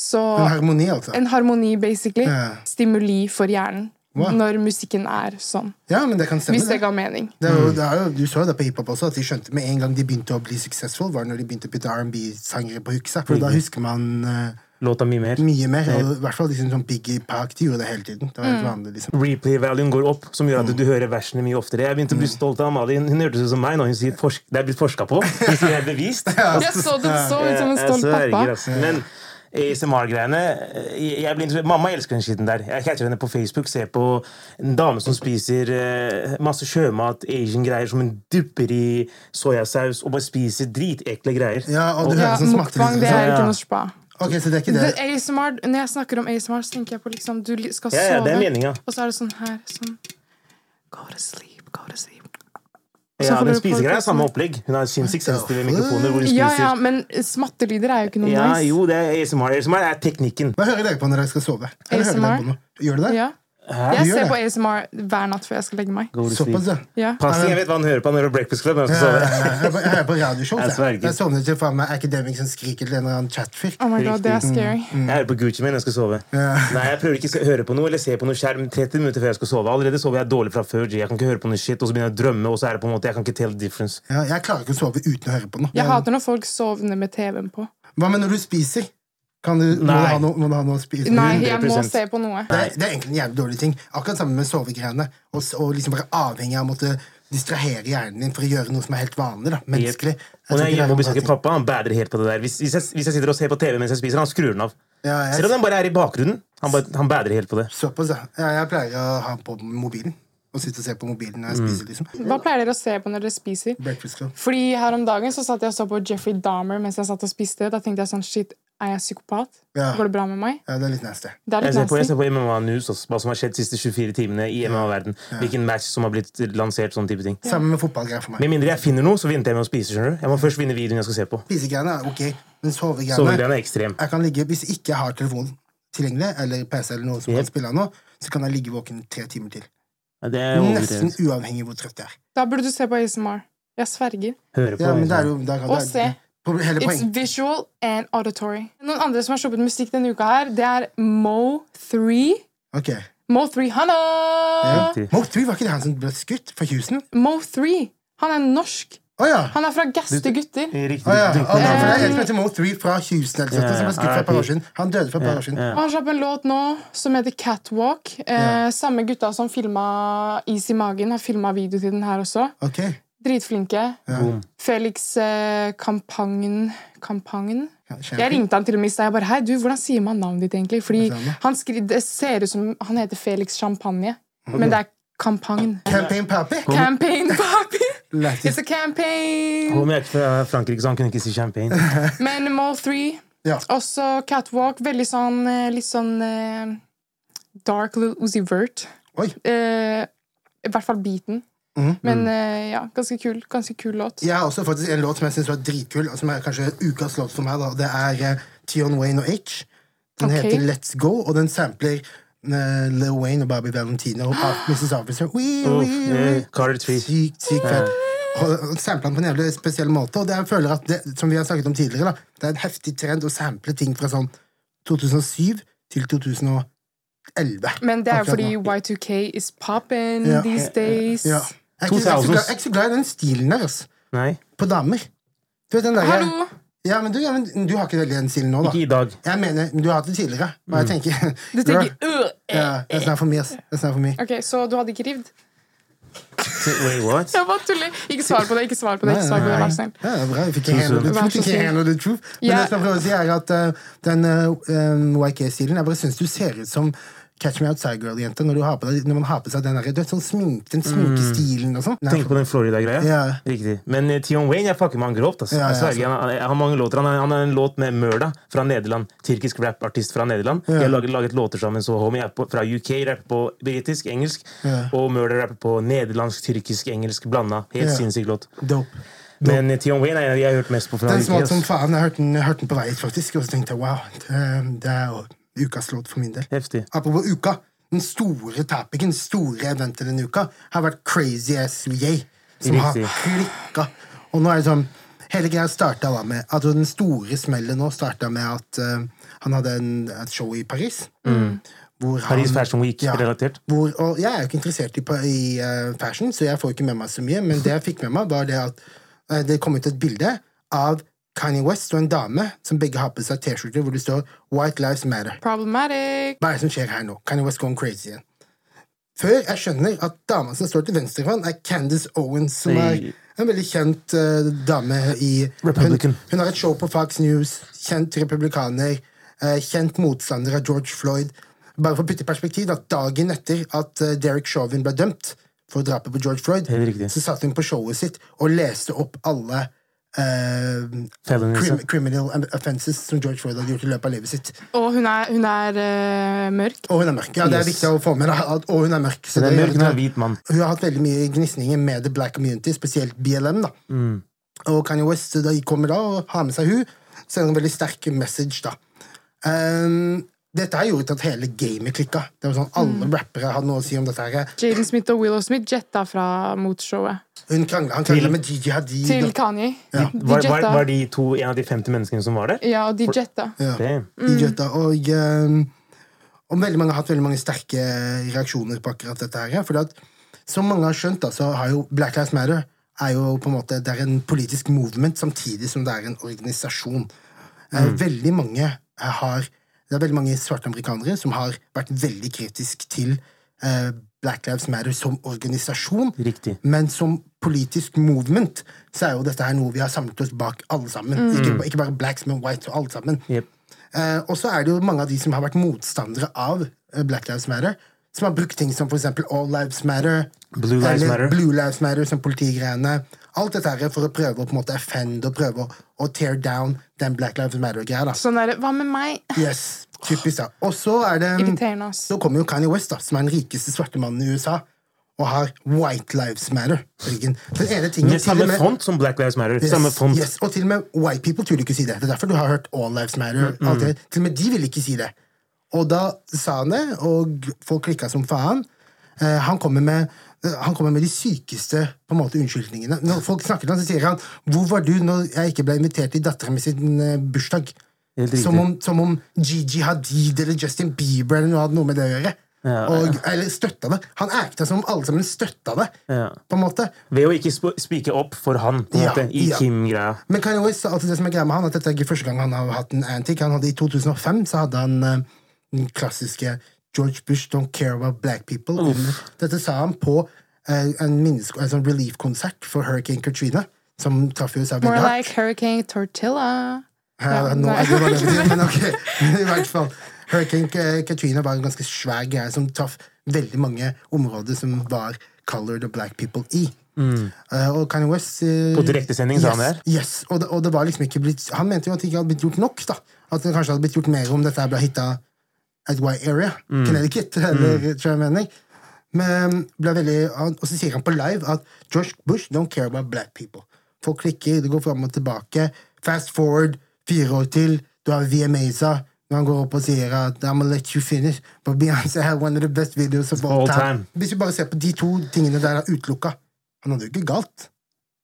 Speaker 1: så
Speaker 2: En harmoni, altså.
Speaker 1: En harmoni, basically.
Speaker 2: Ja.
Speaker 1: Stimuli for hjernen.
Speaker 2: Wow.
Speaker 1: Når musikken er sånn.
Speaker 2: Ja, men det kan stemme.
Speaker 1: Hvis
Speaker 2: det.
Speaker 1: det ga mening.
Speaker 2: Det er jo, det er jo, du så jo det på hiphop også, at de skjønte med en gang de begynte å bli successful, var når de begynte å putte R&B-sangere på huksa. For da husker man eh,
Speaker 3: Låta mye mer.
Speaker 2: mye mer. Og
Speaker 1: Mm.
Speaker 2: I hvert fall liksom sånn Biggie Park, de gjorde det hele tiden. Det var helt vanlig, liksom.
Speaker 3: Replay-valuen går opp, som gjør at
Speaker 2: Mm.
Speaker 3: du, du hører versene mye oftere. Jeg begynte å bli stolt av Amalie. Hun hørtes ut som meg når hun sier forsk det er blitt forska på. Hun sier det er bevist.
Speaker 1: Jeg så du så ut som en
Speaker 3: Eh,
Speaker 1: stolt
Speaker 3: så herregud,
Speaker 1: pappa.
Speaker 3: altså. Men ASMR-greiene eh, jeg blir interessert- Mamma elsker den skitten der. Jeg catcher henne på Facebook. Ser på en dame som spiser eh, masse sjømat, Asian-greier som hun dupper i soyasaus og bare spiser dritekle greier.
Speaker 2: Ja, og du
Speaker 3: Og-
Speaker 1: Ja,
Speaker 2: hører sånn smakte
Speaker 1: Mukbang, det
Speaker 2: liksom.
Speaker 1: er
Speaker 3: Ja,
Speaker 1: ikke
Speaker 3: ja.
Speaker 1: noe spa.
Speaker 2: Ok, så det er ikke det.
Speaker 1: Det- ASMR, når jeg snakker om ASMR, så tenker jeg på liksom Du li- skal
Speaker 3: Ja, ja, det er
Speaker 1: sove,
Speaker 3: meninga.
Speaker 1: og så er det sånn her sånn Go to sleep, go to sleep. Så
Speaker 3: Ja,
Speaker 1: får
Speaker 3: men
Speaker 1: du
Speaker 3: spisegreier er
Speaker 1: podcasten.
Speaker 3: samme opplegg. Hun har sinnssykt sensitive
Speaker 2: Ja.
Speaker 3: mikrofoner hvor hun
Speaker 1: Ja, ja,
Speaker 3: spiser.
Speaker 1: men smattelyder er jo ikke noe
Speaker 3: Ja,
Speaker 1: nice.
Speaker 3: jo, det er ASMR. ASMR er teknikken.
Speaker 2: Hva hører dere på når dere skal sove? Eller hører
Speaker 1: ASMR?
Speaker 2: dere på noe? Gjør dere det?
Speaker 1: Ja.
Speaker 2: Du
Speaker 1: Jeg
Speaker 2: gjør
Speaker 1: ser
Speaker 2: det?
Speaker 1: på ASMR hver natt før jeg skal legge meg.
Speaker 3: Go to
Speaker 2: Såpass,
Speaker 3: sleep.
Speaker 2: ja.
Speaker 1: Ja.
Speaker 3: Pasi, jeg vet hva han hører på. Han hører på Breakfast Club. Men
Speaker 2: Jeg
Speaker 3: jeg skal sove.
Speaker 2: hører på- jeg hører på radioshow.
Speaker 3: Jeg
Speaker 2: Jeg,
Speaker 3: sverger.
Speaker 2: jeg. jeg sovner til faen meg academic som skriker til en eller annen chatfyr.
Speaker 1: Oh my god, det er scary.
Speaker 3: Jeg hører på Gucci min, jeg skal sove. Nei, jeg prøver ikke å høre på noe eller se på noe skjerm 30 minutter før jeg skal sove. Allerede sover jeg dårlig fra før. G. Jeg kan ikke høre på noe shit, og så begynner jeg å drømme, og så er det på en måte Jeg kan ikke tell the difference.
Speaker 2: Ja, jeg klarer ikke å sove uten å høre på noe.
Speaker 1: Jeg hater når folk sovner med TV-en på.
Speaker 2: Hva med når du spiser? Kan du, må, du
Speaker 3: Nei.
Speaker 2: ha noe, må du ha noe å spise?
Speaker 1: Nei, jeg må
Speaker 3: 100%.
Speaker 1: se på noe.
Speaker 2: Det, er, det er egentlig en jævlig dårlig ting. Akkurat sammen med sovegreiene. Og, s- og liksom være avhengig av å måtte distrahere hjernen din for å gjøre noe som er helt vanlig. da, menneskelig. Jeg
Speaker 3: Og
Speaker 2: tror
Speaker 3: når jeg
Speaker 2: ikke det er
Speaker 3: er hjemme og
Speaker 2: noen bra
Speaker 3: besøker
Speaker 2: ting.
Speaker 3: pappa, han bærer helt på det der. Hvis, hvis, jeg, hvis jeg sitter og ser på TV mens jeg spiser, han skrur den av.
Speaker 2: Ja, jeg-
Speaker 3: Selv om den bare er i bakgrunnen. Han, bare, han bærer helt på det.
Speaker 2: Såpass, ja. Ja, Jeg pleier å ha på mobilen. Og sitte og se på mobilen når jeg
Speaker 3: Mm.
Speaker 2: spiser. liksom.
Speaker 1: Hva pleier dere å se på når dere spiser?
Speaker 2: Breakfast Club.
Speaker 1: Fordi her om dagen så satt jeg og så på Jeffrey Dahmer mens jeg satt og spiste. Da tenkte jeg sånn shit, er jeg psykopat?
Speaker 2: Ja.
Speaker 1: Går det bra med meg?
Speaker 2: Ja, det er litt nasty.
Speaker 1: Det er
Speaker 3: Jeg
Speaker 1: litt
Speaker 3: ser på,
Speaker 1: nasty.
Speaker 3: jeg ser på MMA News, også, hva som har skjedd de siste 24 timene i MMA-verden. Hvilken match som har blitt lansert, sånne type ting.
Speaker 2: Sammen med fotballgreier for meg.
Speaker 3: Med mindre jeg finner noe, så venter jeg med å spise. skjønner du? Jeg må først finne videoen jeg skal se på.
Speaker 2: Spisegreiene er ok, men
Speaker 3: Sovegreiene
Speaker 2: sovegreiene
Speaker 3: er ekstrem.
Speaker 2: Jeg kan ligge, Hvis ikke jeg har telefon tilgjengelig, eller PC, eller noe som
Speaker 3: Yep.
Speaker 2: kan spille av nå, så kan jeg ligge våken i tre timer til.
Speaker 3: Ja, Det er
Speaker 2: Nesten
Speaker 3: overdrevet.
Speaker 2: uavhengig hvor trøtt jeg er.
Speaker 1: Da burde du se på ASMR. Jeg sverger.
Speaker 3: Høre på.
Speaker 2: Ja, men det er
Speaker 3: liksom.
Speaker 2: jo, da kan
Speaker 1: Og
Speaker 2: det-
Speaker 1: se.
Speaker 2: Pro- Hele
Speaker 1: It's
Speaker 2: poenget.
Speaker 1: visual and auditory. Noen andre som har sluppet musikk denne uka her, det er Mo3.
Speaker 2: Ok.
Speaker 1: Mo3 Hanna!
Speaker 3: Riktig.
Speaker 2: Mo 3, var ikke det han som ble skutt fra Houston?
Speaker 1: Mo3. Han er norsk.
Speaker 2: Å ja!
Speaker 1: Han er fra Gaste gutter.
Speaker 3: Riktig.
Speaker 2: Å, ja. Å, nei, for det er
Speaker 3: riktig.
Speaker 2: en som heter Mo 3 fra Houston eller
Speaker 3: Ja,
Speaker 2: sånt, som ble skutt for et par år
Speaker 3: RIP.
Speaker 2: siden. Han døde for et par år siden.
Speaker 1: Og Han slapp en låt nå som heter Catwalk. Eh,
Speaker 2: Ja.
Speaker 1: Samme gutta som filma Is i magen, har filma video til den her også.
Speaker 2: Ok.
Speaker 1: Dritflinke.
Speaker 3: Boom.
Speaker 1: Felix eh, Kampangen Kampangen?
Speaker 2: Kjempe-
Speaker 1: Jeg ringte han til og med i stad. Jeg bare, Hei, du, hvordan sier man navnet ditt egentlig? Fordi
Speaker 2: Hva sa han
Speaker 1: han skri, det ser ut som han heter Felix Champagne, men det er Kampangen.
Speaker 2: Campaign Pappy.
Speaker 1: Campaign, papi!
Speaker 2: Lættis.
Speaker 1: It's a campaign!
Speaker 3: Homie er ikke fra Frankrike, så han kunne ikke si champagne.
Speaker 1: Men Mall 3,
Speaker 2: Ja.
Speaker 1: også Catwalk, veldig sånn eh, litt sånn eh, dark little Uzi Vert.
Speaker 2: Oi.
Speaker 1: Eh, I hvert fall beaten.
Speaker 2: Mhm.
Speaker 1: Men eh, ja, ganske kul, ganske kul låt.
Speaker 2: Jeg har også faktisk en låt som jeg synes var dritkul, og som er kanskje ukas låt for meg. da Det er eh, Tion Wayne og H. Den
Speaker 1: Ok.
Speaker 2: heter Let's Go, og den sampler eh, Lil Wayne og Bobby Valentino og Art- Mrs. Officer. We,
Speaker 3: Uff,
Speaker 2: we,
Speaker 3: eh,
Speaker 2: we.
Speaker 3: Carter Tree.
Speaker 2: Sykt, sykt fett. Og og sampler den på en jævlig spesiell måte. Og det jeg føler at det, som vi har snakket om tidligere, da, det er en heftig trend å sample ting fra sånn 2007 til 2011.
Speaker 1: Men det er jo
Speaker 2: Akkurat
Speaker 1: fordi
Speaker 2: nå.
Speaker 1: Y2K is poppin
Speaker 2: Ja. eh,
Speaker 1: these days.
Speaker 2: ja. Jeg er ikke- jeg er ikke så
Speaker 3: 2000s.
Speaker 2: glad- jeg er ikke så glad i den stilen der, ass.
Speaker 3: Nei,
Speaker 2: På damer. Du vet den der,
Speaker 1: Hallo!
Speaker 2: Ja, men du, ja, men du har ikke veldig den stilen nå, da.
Speaker 3: ikke i dag.
Speaker 2: Jeg mener, men Du har hatt det tidligere. Og jeg tenker
Speaker 1: Du tenker øh, eh.
Speaker 2: Ja, det er snart for mye, ass. Det er snart for mye.
Speaker 1: Ok, Så du hadde ikke rivd?
Speaker 3: Wait, what?
Speaker 1: Jeg bare tuller. Ikke svar på det, ikke svar på det. ikke svar på det,
Speaker 2: Nei,
Speaker 1: vær så snill.
Speaker 2: Ja, det er bra. Vi fikk ikke handle the
Speaker 1: Vær så
Speaker 2: truth. Ikke
Speaker 1: snill.
Speaker 2: handle the truth. Men
Speaker 1: Ja.
Speaker 2: det som jeg prøver å si, er at eh, den eh, eh, YK-stilen Jeg bare syns du ser ut som Catch Me Outside Girl-jente når, du har på deg- når man har på seg den der, du vet, sånn smink, den sminkestilen og sånn. Nei,
Speaker 3: Mm. Tenk på den Florida-greia.
Speaker 2: Ja.
Speaker 3: Riktig. Men eh, Tion Wayne jeg fucker med han grovt. ass.
Speaker 2: Ja, altså. ja,
Speaker 3: Jeg sverger, han, han har mange låter. Han har, han har en låt med Murda fra Nederland. Tyrkisk rapartist fra Nederland. De har laget, laget låter sammen, så homie er på, fra UK rapper på britisk, engelsk.
Speaker 2: Ja.
Speaker 3: Og Murda rapper på nederlandsk, tyrkisk, engelsk blanda. Helt
Speaker 2: Ja.
Speaker 3: sinnssyk låt.
Speaker 2: dope.
Speaker 3: Men eh, Tion Wayne er en av de jeg har hørt mest på. fra
Speaker 2: Den
Speaker 3: UK,
Speaker 2: smalt som
Speaker 3: ass.
Speaker 2: faen. Jeg hørte den, jeg hørte den på vei hit, faktisk, og så tenkte jeg wow, det, det er jo ukas låt for min del.
Speaker 3: Heftig.
Speaker 2: Apropos uka. Den store tapingen, store eventet denne uka, har vært Crazy As Yay. Som har
Speaker 3: Riktig.
Speaker 2: klikka. Og nå er det sånn Hele greia starta da med altså Den store smellen nå starta med at eh, han hadde en, et show i Paris. Hvor han-
Speaker 3: Mm. Paris Fashion Week-relatert.
Speaker 2: hvor, og jeg er jo ikke interessert i, pa- i eh, fashion, så jeg får ikke med meg så mye. Men det jeg fikk med meg, var det at eh, det kom ut et bilde av Kanye West og en dame som begge har på seg T-skjorter hvor det står 'White Lives Matter'.
Speaker 1: Problematic.
Speaker 2: Hva er det som skjer her nå? Kanye West going crazy igjen. Før jeg skjønner at dama som står til venstre for han er Candace Owens, som er
Speaker 3: Hey.
Speaker 2: en veldig kjent eh, dame i
Speaker 3: Republican.
Speaker 2: Hun, hun har et show på Fox News, kjent republikaner, eh, kjent motstander av George Floyd. Bare for å putte i perspektiv at dagen etter at eh, Derek Chauvin ble dømt for drapet på George Floyd,
Speaker 3: Helt riktig.
Speaker 2: så satt hun på showet sitt og leste opp alle eh,
Speaker 3: Felonies, ja.
Speaker 2: crim criminal offenses som George Floyd hadde gjort i løpet av livet sitt.
Speaker 1: Og hun er, hun er eh, mørk.
Speaker 2: Og hun er mørk. Ja, det er
Speaker 3: Yes.
Speaker 2: viktig å få med. Da. at- Og hun er mørk. så
Speaker 3: Det er
Speaker 2: det-
Speaker 3: mørk, hun er hvit mann.
Speaker 2: hun har hatt veldig mye gnisninger med the black community, spesielt BLM. da.
Speaker 3: Mm.
Speaker 2: Og Kanye West da, kommer da og har med seg hun, sender en veldig sterk message. da. Ehm, dette her gjorde til at hele gamet klikka. Det var sånn,
Speaker 3: Mm.
Speaker 2: Alle rappere hadde noe å si om dette. her.
Speaker 1: Jaden Smith og Willow Smith jetta fra motshowet
Speaker 2: Hun krangla, han krangla med Gigi Hadid.
Speaker 1: til
Speaker 2: og-
Speaker 1: Kanye. De
Speaker 3: Var, var,
Speaker 1: jetta.
Speaker 3: var de to en av de 50 menneskene som var der?
Speaker 1: Ja, og de jetta.
Speaker 2: Ja.
Speaker 3: Damn.
Speaker 2: Gigi Hadid, og, ehm, og veldig mange har hatt veldig mange sterke reaksjoner på akkurat dette. her. Fordi at, som mange har skjønt, da, så har jo Black Lives Matter er jo på en måte, det er en politisk movement samtidig som det er en organisasjon. Eh, Veldig mange eh, har Det er veldig mange svarte amerikanere som har vært veldig kritisk til eh, Black Lives Matter som organisasjon.
Speaker 3: Riktig.
Speaker 2: Men som politisk movement så er jo dette her noe vi har samlet oss bak alle sammen. Ikke, ba- ikke bare blacks, men whites og alle sammen.
Speaker 3: Mm. Jep.
Speaker 2: Eh, og så er det jo mange av de som har vært motstandere av eh, Black Lives Matter, som har brukt ting som for eksempel All Lives Matter,
Speaker 3: Blue Lives
Speaker 2: eller
Speaker 3: Matter.
Speaker 2: Blue Lives Matter som politigreiene. Alt dette her for å prøve å på en måte offend og prøve å, å tear down den Black Lives Matter-greia. da.
Speaker 1: Sånn derre Hva med meg?
Speaker 2: Yes, typisk da. Og så er det
Speaker 1: Irriterende, ass.
Speaker 2: Mm. Så kommer jo Kanye West, da, som er den rikeste svarte mannen i USA, og har White Lives Matter på ryggen. Den ene tingen
Speaker 3: Med
Speaker 2: til og
Speaker 3: samme
Speaker 2: med-
Speaker 3: font som Black Lives Matter.
Speaker 2: Yes,
Speaker 3: Samme font.
Speaker 2: Yes, og til og med white people turde ikke si det. Det er derfor du har hørt All Lives Matter.
Speaker 3: Mm,
Speaker 2: alt det. Til og med de ville ikke si det. Og da sa han det, og folk klikka som faen. Eh, han kommer med eh, han kommer med de sykeste på en måte, unnskyldningene. Når folk snakker til han, så sier han 'Hvor var du når jeg ikke ble invitert til datteren min sin eh, bursdag?'
Speaker 3: Helt riktig.
Speaker 2: Som om, som om Gigi Hadid eller Justin Bieber eller noe hadde noe med det å gjøre.
Speaker 3: Ja.
Speaker 2: Og, eller støtta det. Han acta som om alle sammen støtta det.
Speaker 3: Ja.
Speaker 2: på en måte.
Speaker 3: Ved å ikke sp- spike opp for han, på en
Speaker 2: Ja,
Speaker 3: måte, i
Speaker 2: ja.
Speaker 3: Kim-greia.
Speaker 2: Men Kanye West, sa alltid det som er greia med han, at dette er ikke første gang han har hatt en antic. Han hadde I 2005 så hadde han eh, den klassiske George Bush Don't Care About Black People. Dette sa han på eh, en, minnesk- en sånn relief-konsert for Hurricane Katrina, som traff USA
Speaker 1: More
Speaker 2: veldig hardt.
Speaker 1: like Hurricane Tortilla.
Speaker 2: Eh, nå
Speaker 1: Nei.
Speaker 2: er det bare det betyr, men ok, i hvert fall. Hurricane eh, Katrina var en ganske svær greie som traff veldig mange områder som var colored og black people i. Eh, og Kanye West eh,
Speaker 3: Mm. På direktesending, sa han det her.
Speaker 2: Yes, og det, og det var liksom ikke blitt Han mente jo at det ikke hadde blitt gjort nok. da At det kanskje hadde blitt gjort mer om dette her ble hitta at white area. Connecticut, eller tror jeg mener. Men ble veldig han- Og så sier han på live at George Bush don't care about black people. Folk klikker, det går fram og tilbake. Fast forward fire år til, du har VMA-sa. Når han går opp og sier at I'm gonna let you finish, but Beyoncé had one of the best videos of all
Speaker 3: All
Speaker 2: time.
Speaker 3: time.
Speaker 2: Hvis vi bare ser på de to tingene der er utelukka Han hadde jo ikke galt.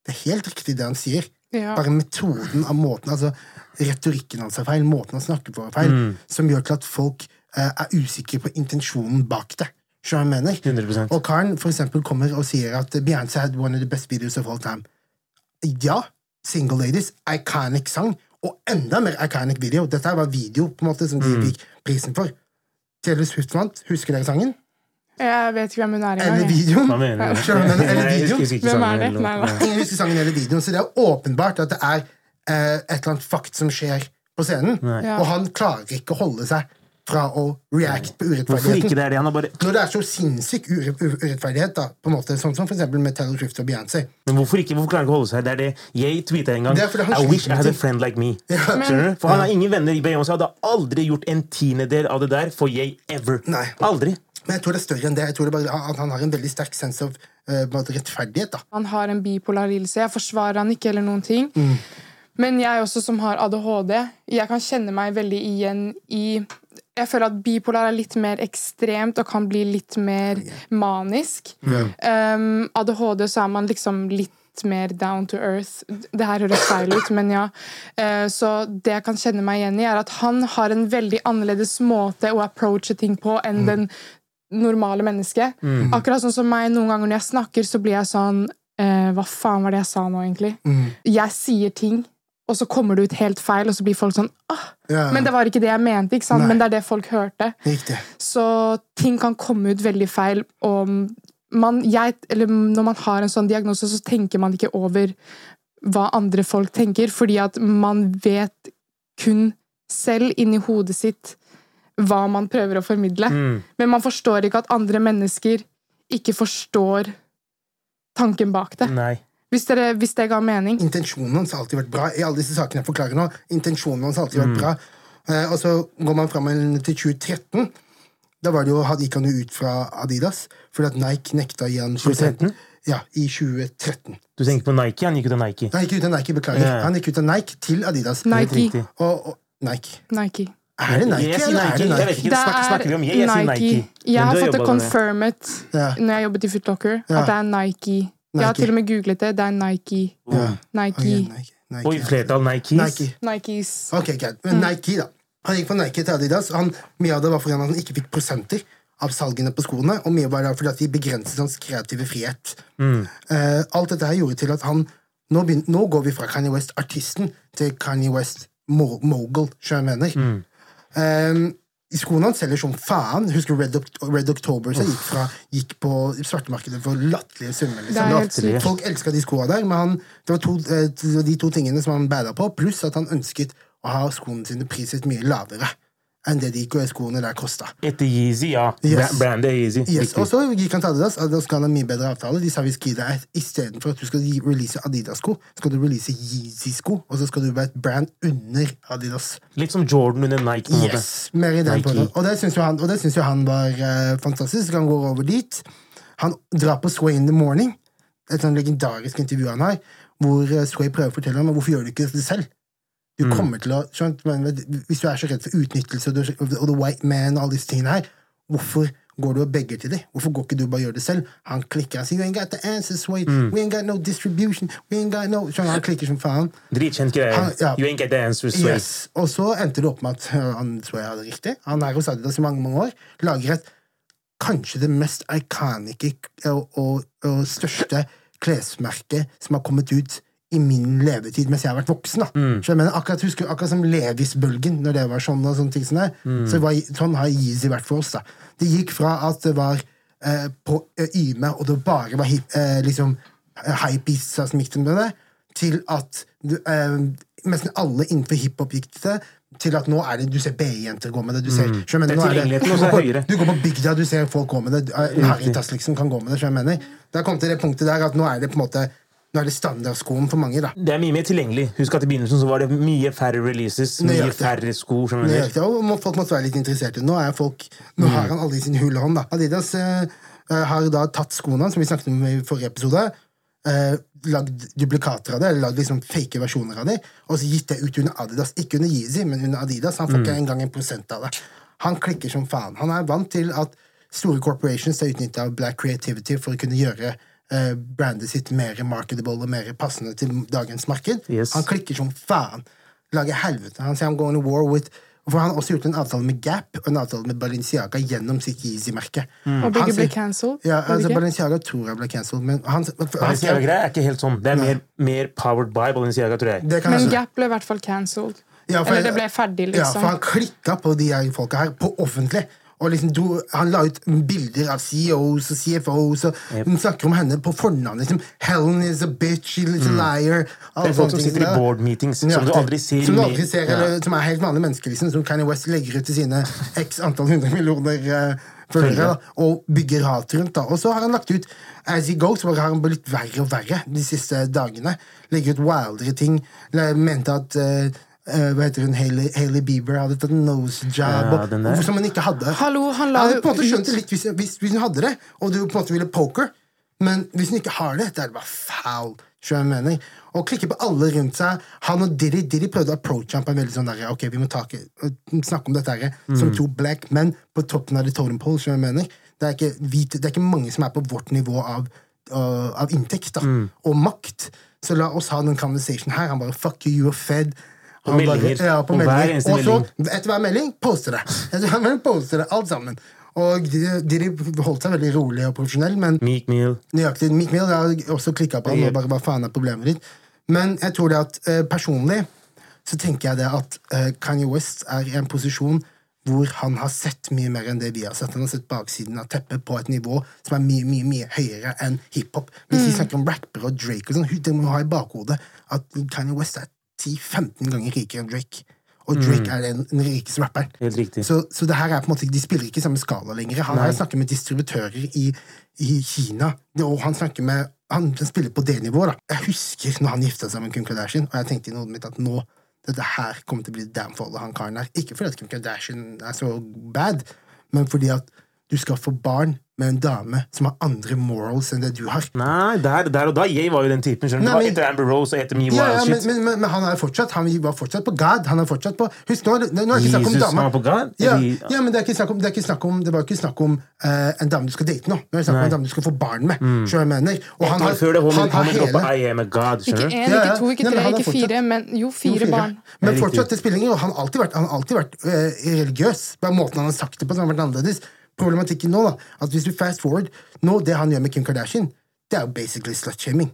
Speaker 2: Det er helt riktig det han sier.
Speaker 1: Ja.
Speaker 2: Bare metoden av måten altså Retorikken hans er feil, måten han snakker på er feil,
Speaker 3: Mm.
Speaker 2: som gjør til at folk eh, er usikre på intensjonen bak det. Skjønner du hva jeg mener?
Speaker 3: 100
Speaker 2: Og Karen for eksempel, kommer og sier at Beyoncé had one of the best videos of all time. Ja, Single Ladies, iconic sang, og enda mer iconic video. Dette her var video på en måte som
Speaker 3: Mm.
Speaker 2: de fikk prisen for. Taylor Swift vant. Husker dere sangen?
Speaker 1: Jeg vet ikke hvem hun er
Speaker 2: Eller
Speaker 1: engang. jeg.
Speaker 2: videoen?
Speaker 3: Hva mener du?
Speaker 2: Skjønner du hva jeg mener?
Speaker 3: Nei, jeg
Speaker 2: Eller videoen?
Speaker 3: husker ikke
Speaker 1: Hvem
Speaker 3: sangen
Speaker 1: er det?
Speaker 3: heller.
Speaker 1: Nei, nei.
Speaker 2: Ingen husker sangen eller videoen, så det er åpenbart at det er eh, et eller annet fakt som skjer på scenen.
Speaker 1: Ja.
Speaker 2: Og han klarer ikke å holde seg fra å react på
Speaker 3: Hvorfor ikke
Speaker 2: urettferdigheten.
Speaker 3: det er det? Han har bare
Speaker 2: Når det er så sinnssyk ure- u- urettferdighet, da, på en måte, sånn som for eksempel med Taylor Swift og Beyoncé
Speaker 3: Men hvorfor ikke? Hvorfor klarer han ikke å holde seg? Det er det jeg tweeta en gang.
Speaker 2: Det er fordi han
Speaker 3: I
Speaker 2: sliter
Speaker 3: wish I
Speaker 2: med
Speaker 3: had a
Speaker 2: ting.
Speaker 3: friend like me.
Speaker 2: Ja. Men-
Speaker 3: Skjønner du? For han har ingen venner. Beyoncé hadde aldri gjort en tiendedel av det der for jeg ever.
Speaker 2: Nei.
Speaker 3: Aldri.
Speaker 2: Men jeg tror det er større enn det. Jeg tror det bare er at Han har en veldig sterk sense av eh, på en måte rettferdighet. da.
Speaker 1: Han har en bipolar lidelse. Jeg forsvarer han ikke eller noen ting.
Speaker 2: Mm.
Speaker 1: Men jeg også som har ADHD, jeg kan kjenne meg veldig igjen i Jeg føler at bipolar er litt mer ekstremt og kan bli litt mer manisk. Um, ADHD så er man liksom litt mer down to earth. Det her høres feil ut, men ja. Eh, så det jeg kan kjenne meg igjen i, er at han har en veldig annerledes måte å approache ting på
Speaker 2: Mm.
Speaker 1: enn den normale mennesket. Akkurat sånn som meg, noen ganger når jeg snakker, så blir jeg sånn eh, Hva faen var det jeg sa nå, egentlig?
Speaker 2: Mm.
Speaker 1: Jeg sier ting, og så kommer det ut helt feil, og så blir folk sånn ah,
Speaker 2: Ja.
Speaker 1: Men det var ikke det jeg mente, ikke sant?
Speaker 2: Nei.
Speaker 1: Men det er det folk hørte.
Speaker 2: Riktig.
Speaker 1: Så ting kan komme ut veldig feil. Og man, jeg, eller når man har en sånn diagnose, så tenker man ikke over hva andre folk tenker, fordi at man vet kun selv inni hodet sitt hva man prøver å formidle.
Speaker 3: Mm.
Speaker 1: Men man
Speaker 3: Mm.
Speaker 1: forstår ikke at andre mennesker ikke forstår tanken bak det.
Speaker 3: Nei.
Speaker 1: Hvis, dere, hvis det ga mening.
Speaker 2: Intensjonen hans har alltid vært bra. I alle disse sakene jeg forklarer nå, intensjonen hans har alltid
Speaker 3: Mm.
Speaker 2: vært bra. Eh, og så går man fram til 2013. Da var det jo, hadde- gikk han jo ut fra Adidas, fordi at Nike nekta å gi han
Speaker 3: 2013?
Speaker 2: Ja, i 2013.
Speaker 3: Du tenker på Nike? Han gikk ut av Nike.
Speaker 2: Han gikk ut av Nike, beklager.
Speaker 3: Ja.
Speaker 2: Han gikk ut av Nike til Adidas.
Speaker 3: Helt
Speaker 1: Nike.
Speaker 3: riktig.
Speaker 2: Og, og Nike.
Speaker 1: Nike.
Speaker 2: Er det Nike,
Speaker 3: Jeg sier
Speaker 2: eller er
Speaker 3: Nike.
Speaker 2: det
Speaker 3: Jeg
Speaker 2: Nike?
Speaker 3: vet ikke, snakker, snakker vi om jeg? Jeg sier Nike. Men
Speaker 1: Jeg har
Speaker 3: du
Speaker 1: fått altså, det
Speaker 3: jobbet med
Speaker 1: confirmet
Speaker 2: Ja.
Speaker 1: når jeg jobbet i Footlocker,
Speaker 2: Ja.
Speaker 1: at det er Nike. Jeg har
Speaker 2: Nike.
Speaker 1: til og med googlet det. Det er Nike.
Speaker 2: Ja. Ok,
Speaker 1: Nike.
Speaker 2: Nike. Nike.
Speaker 3: Oi, flertall Nikes.
Speaker 2: Nike.
Speaker 1: Nikes.
Speaker 2: Ok, greit. Men Nike, da. Han gikk fra Nike til Adidas. og Han, mye av det var fordi han ikke fikk prosenter av salgene på skoene, og mye var det fordi at de begrenset hans kreative frihet. Eh, alt dette her gjorde til at han Nå, begyn- nå går vi fra Kanye West, artisten, til Kanye West, mo mogul, skjønner jeg mener. Eh, skoene hans selger som faen. Husker du Red, Oct Red October som gikk, fra, gikk på svartemarkedet for latterlige summer. liksom?
Speaker 1: Det er helt
Speaker 3: Latterlig.
Speaker 1: sykt.
Speaker 2: Folk elska de skoa der, men han, det var to, eh, det var de to tingene som han bada på, pluss at han ønsket å ha skoene sine priset mye lavere enn det de skoene der kosta.
Speaker 3: Etter Yeezy, ja.
Speaker 2: Yes.
Speaker 3: Bra- Brandet Yeezy.
Speaker 2: Yes.
Speaker 3: Riktig.
Speaker 2: Og så gikk han til Adidas, Adidas ga han en mye bedre avtale. De sa vi skal gi deg et istedenfor at du skal gi- release Adidas-sko, skal du release Yeezy-sko, og så skal du være et brand under Adidas.
Speaker 3: Litt som Jordan under Nike. på en måte.
Speaker 2: Yes, mer i den
Speaker 3: Nike.
Speaker 2: podden. Og det syns jo han, og det syns jo han var eh, fantastisk. Han går over dit. Han drar på Sway in the Morning, et sånn legendarisk intervju han har, hvor eh, Sway prøver å fortelle ham men hvorfor gjør du ikke det selv. Du
Speaker 3: Mm.
Speaker 2: kommer til å, skjønt, men vet- Hvis du er så redd for utnyttelse og, du, og the white man og alle disse tingene her, hvorfor går du og begger til dem? Hvorfor går ikke du og bare gjør det selv? Han klikker. Han sier 'We ain't got the answers, Sway.
Speaker 3: Mm.
Speaker 2: We ain't got no distribution. We ain't got no Skjønner, Han klikker som faen.
Speaker 3: Dritkjent greie.
Speaker 2: Han- ja.
Speaker 3: You ain't get the answer, Sway.
Speaker 2: Yes. Og så endte det opp med at øh, han tror jeg hadde riktig. Han er hos Adidas i mange mange år. Lager et kanskje det mest iconike og, og, og største klesmerket som har kommet ut i min levetid mens jeg har vært voksen. da.
Speaker 3: Mm.
Speaker 2: Så jeg mener, akkurat, husker, akkurat som Levis-bølgen, når det var sånn og sånne ting som det.
Speaker 3: Mm.
Speaker 2: Så var, sånn har Yeezy vært for oss. da. Det gikk fra at det var eh, på eh, Yme, og det bare var hip, eh, liksom hypeista som gikk til med det, til at du, eh, nesten alle innenfor hiphop gikk til det, til at nå er det, du ser BI-jenter gå med det. du ser, så jeg mener,
Speaker 3: Mm. Det er
Speaker 2: nå
Speaker 3: tilgjengeligheten
Speaker 2: du
Speaker 3: også er
Speaker 2: går på-
Speaker 3: høyere.
Speaker 2: Du går på bygda, du ser folk gå med det. eh, Haritas liksom kan gå med det. så jeg mener. Det har kommet til det punktet der at nå er det på en måte, nå er det standardskoen for mange. da.
Speaker 3: Det er mye mer tilgjengelig. Husk at i begynnelsen så var det mye færre releases, mye
Speaker 2: Nøyaktig.
Speaker 3: færre sko. skjønner du?
Speaker 2: Nøyaktig, og må- folk måtte være litt interesserte. Nå, er folk, nå har han alle i sin hule hånd. Da. Adidas eh, eh, har da tatt skoene hans, som vi snakket om i forrige episode. Eh, lagd duplikater av det, eller lagd liksom fake versjoner av det, og så gitt det ut under Adidas. Ikke under Yeezy, men under Adidas. Han får ikke engang en prosent av det. Han klikker som faen. Han er vant til at store corporations er utnytta av black creativity for å kunne gjøre eh, brandet sitt mer marketable og mer passende til dagens marked.
Speaker 3: Yes.
Speaker 2: Han klikker som faen. Lager helvete. Han sier I'm going to war with For han har også gjort en avtale med Gap og en avtale med Balenciaga gjennom sitt Yeezy-merke.
Speaker 1: Og begge
Speaker 2: Han
Speaker 1: ble
Speaker 2: sier-
Speaker 1: cancelled.
Speaker 2: Ja,
Speaker 1: ble de
Speaker 2: altså
Speaker 1: ikke?
Speaker 2: Balenciaga tror jeg ble cancelled, men han, han,
Speaker 3: Balenciaga er ikke helt sånn. Det er mer, mer powered by Balenciaga, tror jeg.
Speaker 2: det kan
Speaker 1: Men
Speaker 2: jeg-
Speaker 1: Gap ble i hvert fall cancelled.
Speaker 2: Ja, for-
Speaker 1: Eller det ble ferdig,
Speaker 2: Ja, for
Speaker 1: liksom.
Speaker 2: han klikka på de her folka her, på offentlig. Og liksom dro, han la ut bilder av CEOs og CFOs, og hun snakker om henne på fornavn. liksom, Helen is a bitch, she's a little liar. alle
Speaker 3: Mm. Det er
Speaker 2: sånne
Speaker 3: folk som
Speaker 2: ting
Speaker 3: sitter i
Speaker 2: der.
Speaker 3: board meetings, som du
Speaker 2: Nøyaktig.
Speaker 3: aldri ser
Speaker 2: Som, du
Speaker 3: mer.
Speaker 2: aldri ser eller, som er helt vanlige mennesker, liksom, som Kanye West legger ut til sine x antall hundre millioner eh, følgere, da, og bygger hat rundt. da. Og så har han lagt ut As He Goes, bare har han blitt verre og verre de siste dagene. Legger ut wildere ting. eller Mente at eh, eh, hva heter hun, Hailey, Hailey Bieber hadde tatt nose job,
Speaker 3: Ja,
Speaker 2: og-
Speaker 3: den der.
Speaker 2: som hun ikke hadde.
Speaker 1: Hallo, han la
Speaker 2: Jeg hadde på en måte
Speaker 1: jo
Speaker 2: skjønt det litt hvis, hvis, hvis hun hadde det, og du på en måte ville poker. Men hvis hun ikke har det, det er det bare foul. skjønner du hva jeg mener. Og klikke på alle rundt seg. Han og Diddy Diddy prøvde å approache ham på en veldig sånn der, ok, vi må take, snakke om dette her,
Speaker 1: Mm.
Speaker 2: som to black menn på toppen av the totem pole. skjønner du hva jeg mener. Det er, ikke, hvite- det er ikke mange som er på vårt nivå av, øh, av inntekt da,
Speaker 1: Mm.
Speaker 2: og makt. Så la oss ha den conversation her. Han bare fuck you, you're fed.
Speaker 3: På
Speaker 2: Han bare-
Speaker 3: meldinger.
Speaker 2: Ja, på
Speaker 3: På hver
Speaker 2: meldinger.
Speaker 3: eneste
Speaker 2: Og så
Speaker 3: melding.
Speaker 2: etter hver melding poster det. Etter hver melding poster det, alt sammen. Og de, de holdt seg veldig rolig og profesjonell, men
Speaker 3: Meek Mill.
Speaker 2: nøyaktig Meek Mill har også klikka på han og bare hva faen er problemet ditt. Men jeg tror det at eh, personlig så tenker jeg det at eh, Kanye West er i en posisjon hvor han har sett mye mer enn det vi har sett. Han har sett baksiden av teppet på et nivå som er mye mye, mye høyere enn hiphop. Hvis vi snakker om rappere og Drake, og sånn, hu- det må vi ha i bakhodet at Kanye West er 10-15 ganger rikere enn Drake. Og Drake er den, den rikeste rapperen.
Speaker 3: Helt riktig.
Speaker 2: Så, så det her er på en måte, de spiller ikke i samme skala lenger. Han her snakker med distributører i, i Kina, og han snakker med han spiller på det nivået. da. Jeg husker når han gifta seg med Kim Kardashian, og jeg tenkte i hodet mitt at nå dette her kommer til å bli downfall av han karen der. Ikke fordi at Kim Kardashian er så bad, men fordi at du skal få barn med en dame som har andre morals enn det du har.
Speaker 3: Nei, der, der og da. Jeg var jo den typen. skjønner du?
Speaker 2: Nei,
Speaker 3: Det var
Speaker 2: men-
Speaker 3: Etter Amber Rose og etter Me
Speaker 2: Ja, ja,
Speaker 3: Wild
Speaker 2: men,
Speaker 3: Shit.
Speaker 2: men, men, men han er fortsatt Han var fortsatt på God. Han er fortsatt på Husk, nå, er det- nå er det ikke snakk om
Speaker 3: Jesus,
Speaker 2: dama.
Speaker 3: han er på God?
Speaker 2: Ja,
Speaker 3: Eller-
Speaker 2: ja, men det er ikke snakk om Det, er ikke snakk om, det var ikke snakk om eh, en dame du skal date nå. Nå er det snakk om
Speaker 3: Nei.
Speaker 2: en dame du skal få barn med. Skjønner du hva jeg mener. Og
Speaker 3: Han har før det,
Speaker 2: han
Speaker 3: han,
Speaker 2: har
Speaker 3: han droppe
Speaker 2: hele-
Speaker 3: I am a god,
Speaker 1: Ikke
Speaker 3: skjønner du?
Speaker 1: én,
Speaker 2: Ja,
Speaker 1: ikke
Speaker 2: ja.
Speaker 1: to, ikke
Speaker 2: Nei, men
Speaker 1: tre,
Speaker 2: han er
Speaker 1: ikke fire,
Speaker 2: fortsatt-
Speaker 1: men jo,
Speaker 2: Jo,
Speaker 1: fire barn.
Speaker 3: Det
Speaker 2: Men
Speaker 3: er
Speaker 2: fortsatt,
Speaker 3: riktig.
Speaker 2: det spiller ingen rolle. Han har alltid vært, han har alltid vært eh, religiøs. Bare måten han har sagt det på, som har vært annerledes. Problematikken nå, da, at hvis du fast forward Nå, det han gjør med Kim Kardashian, det er jo basically slutshaming.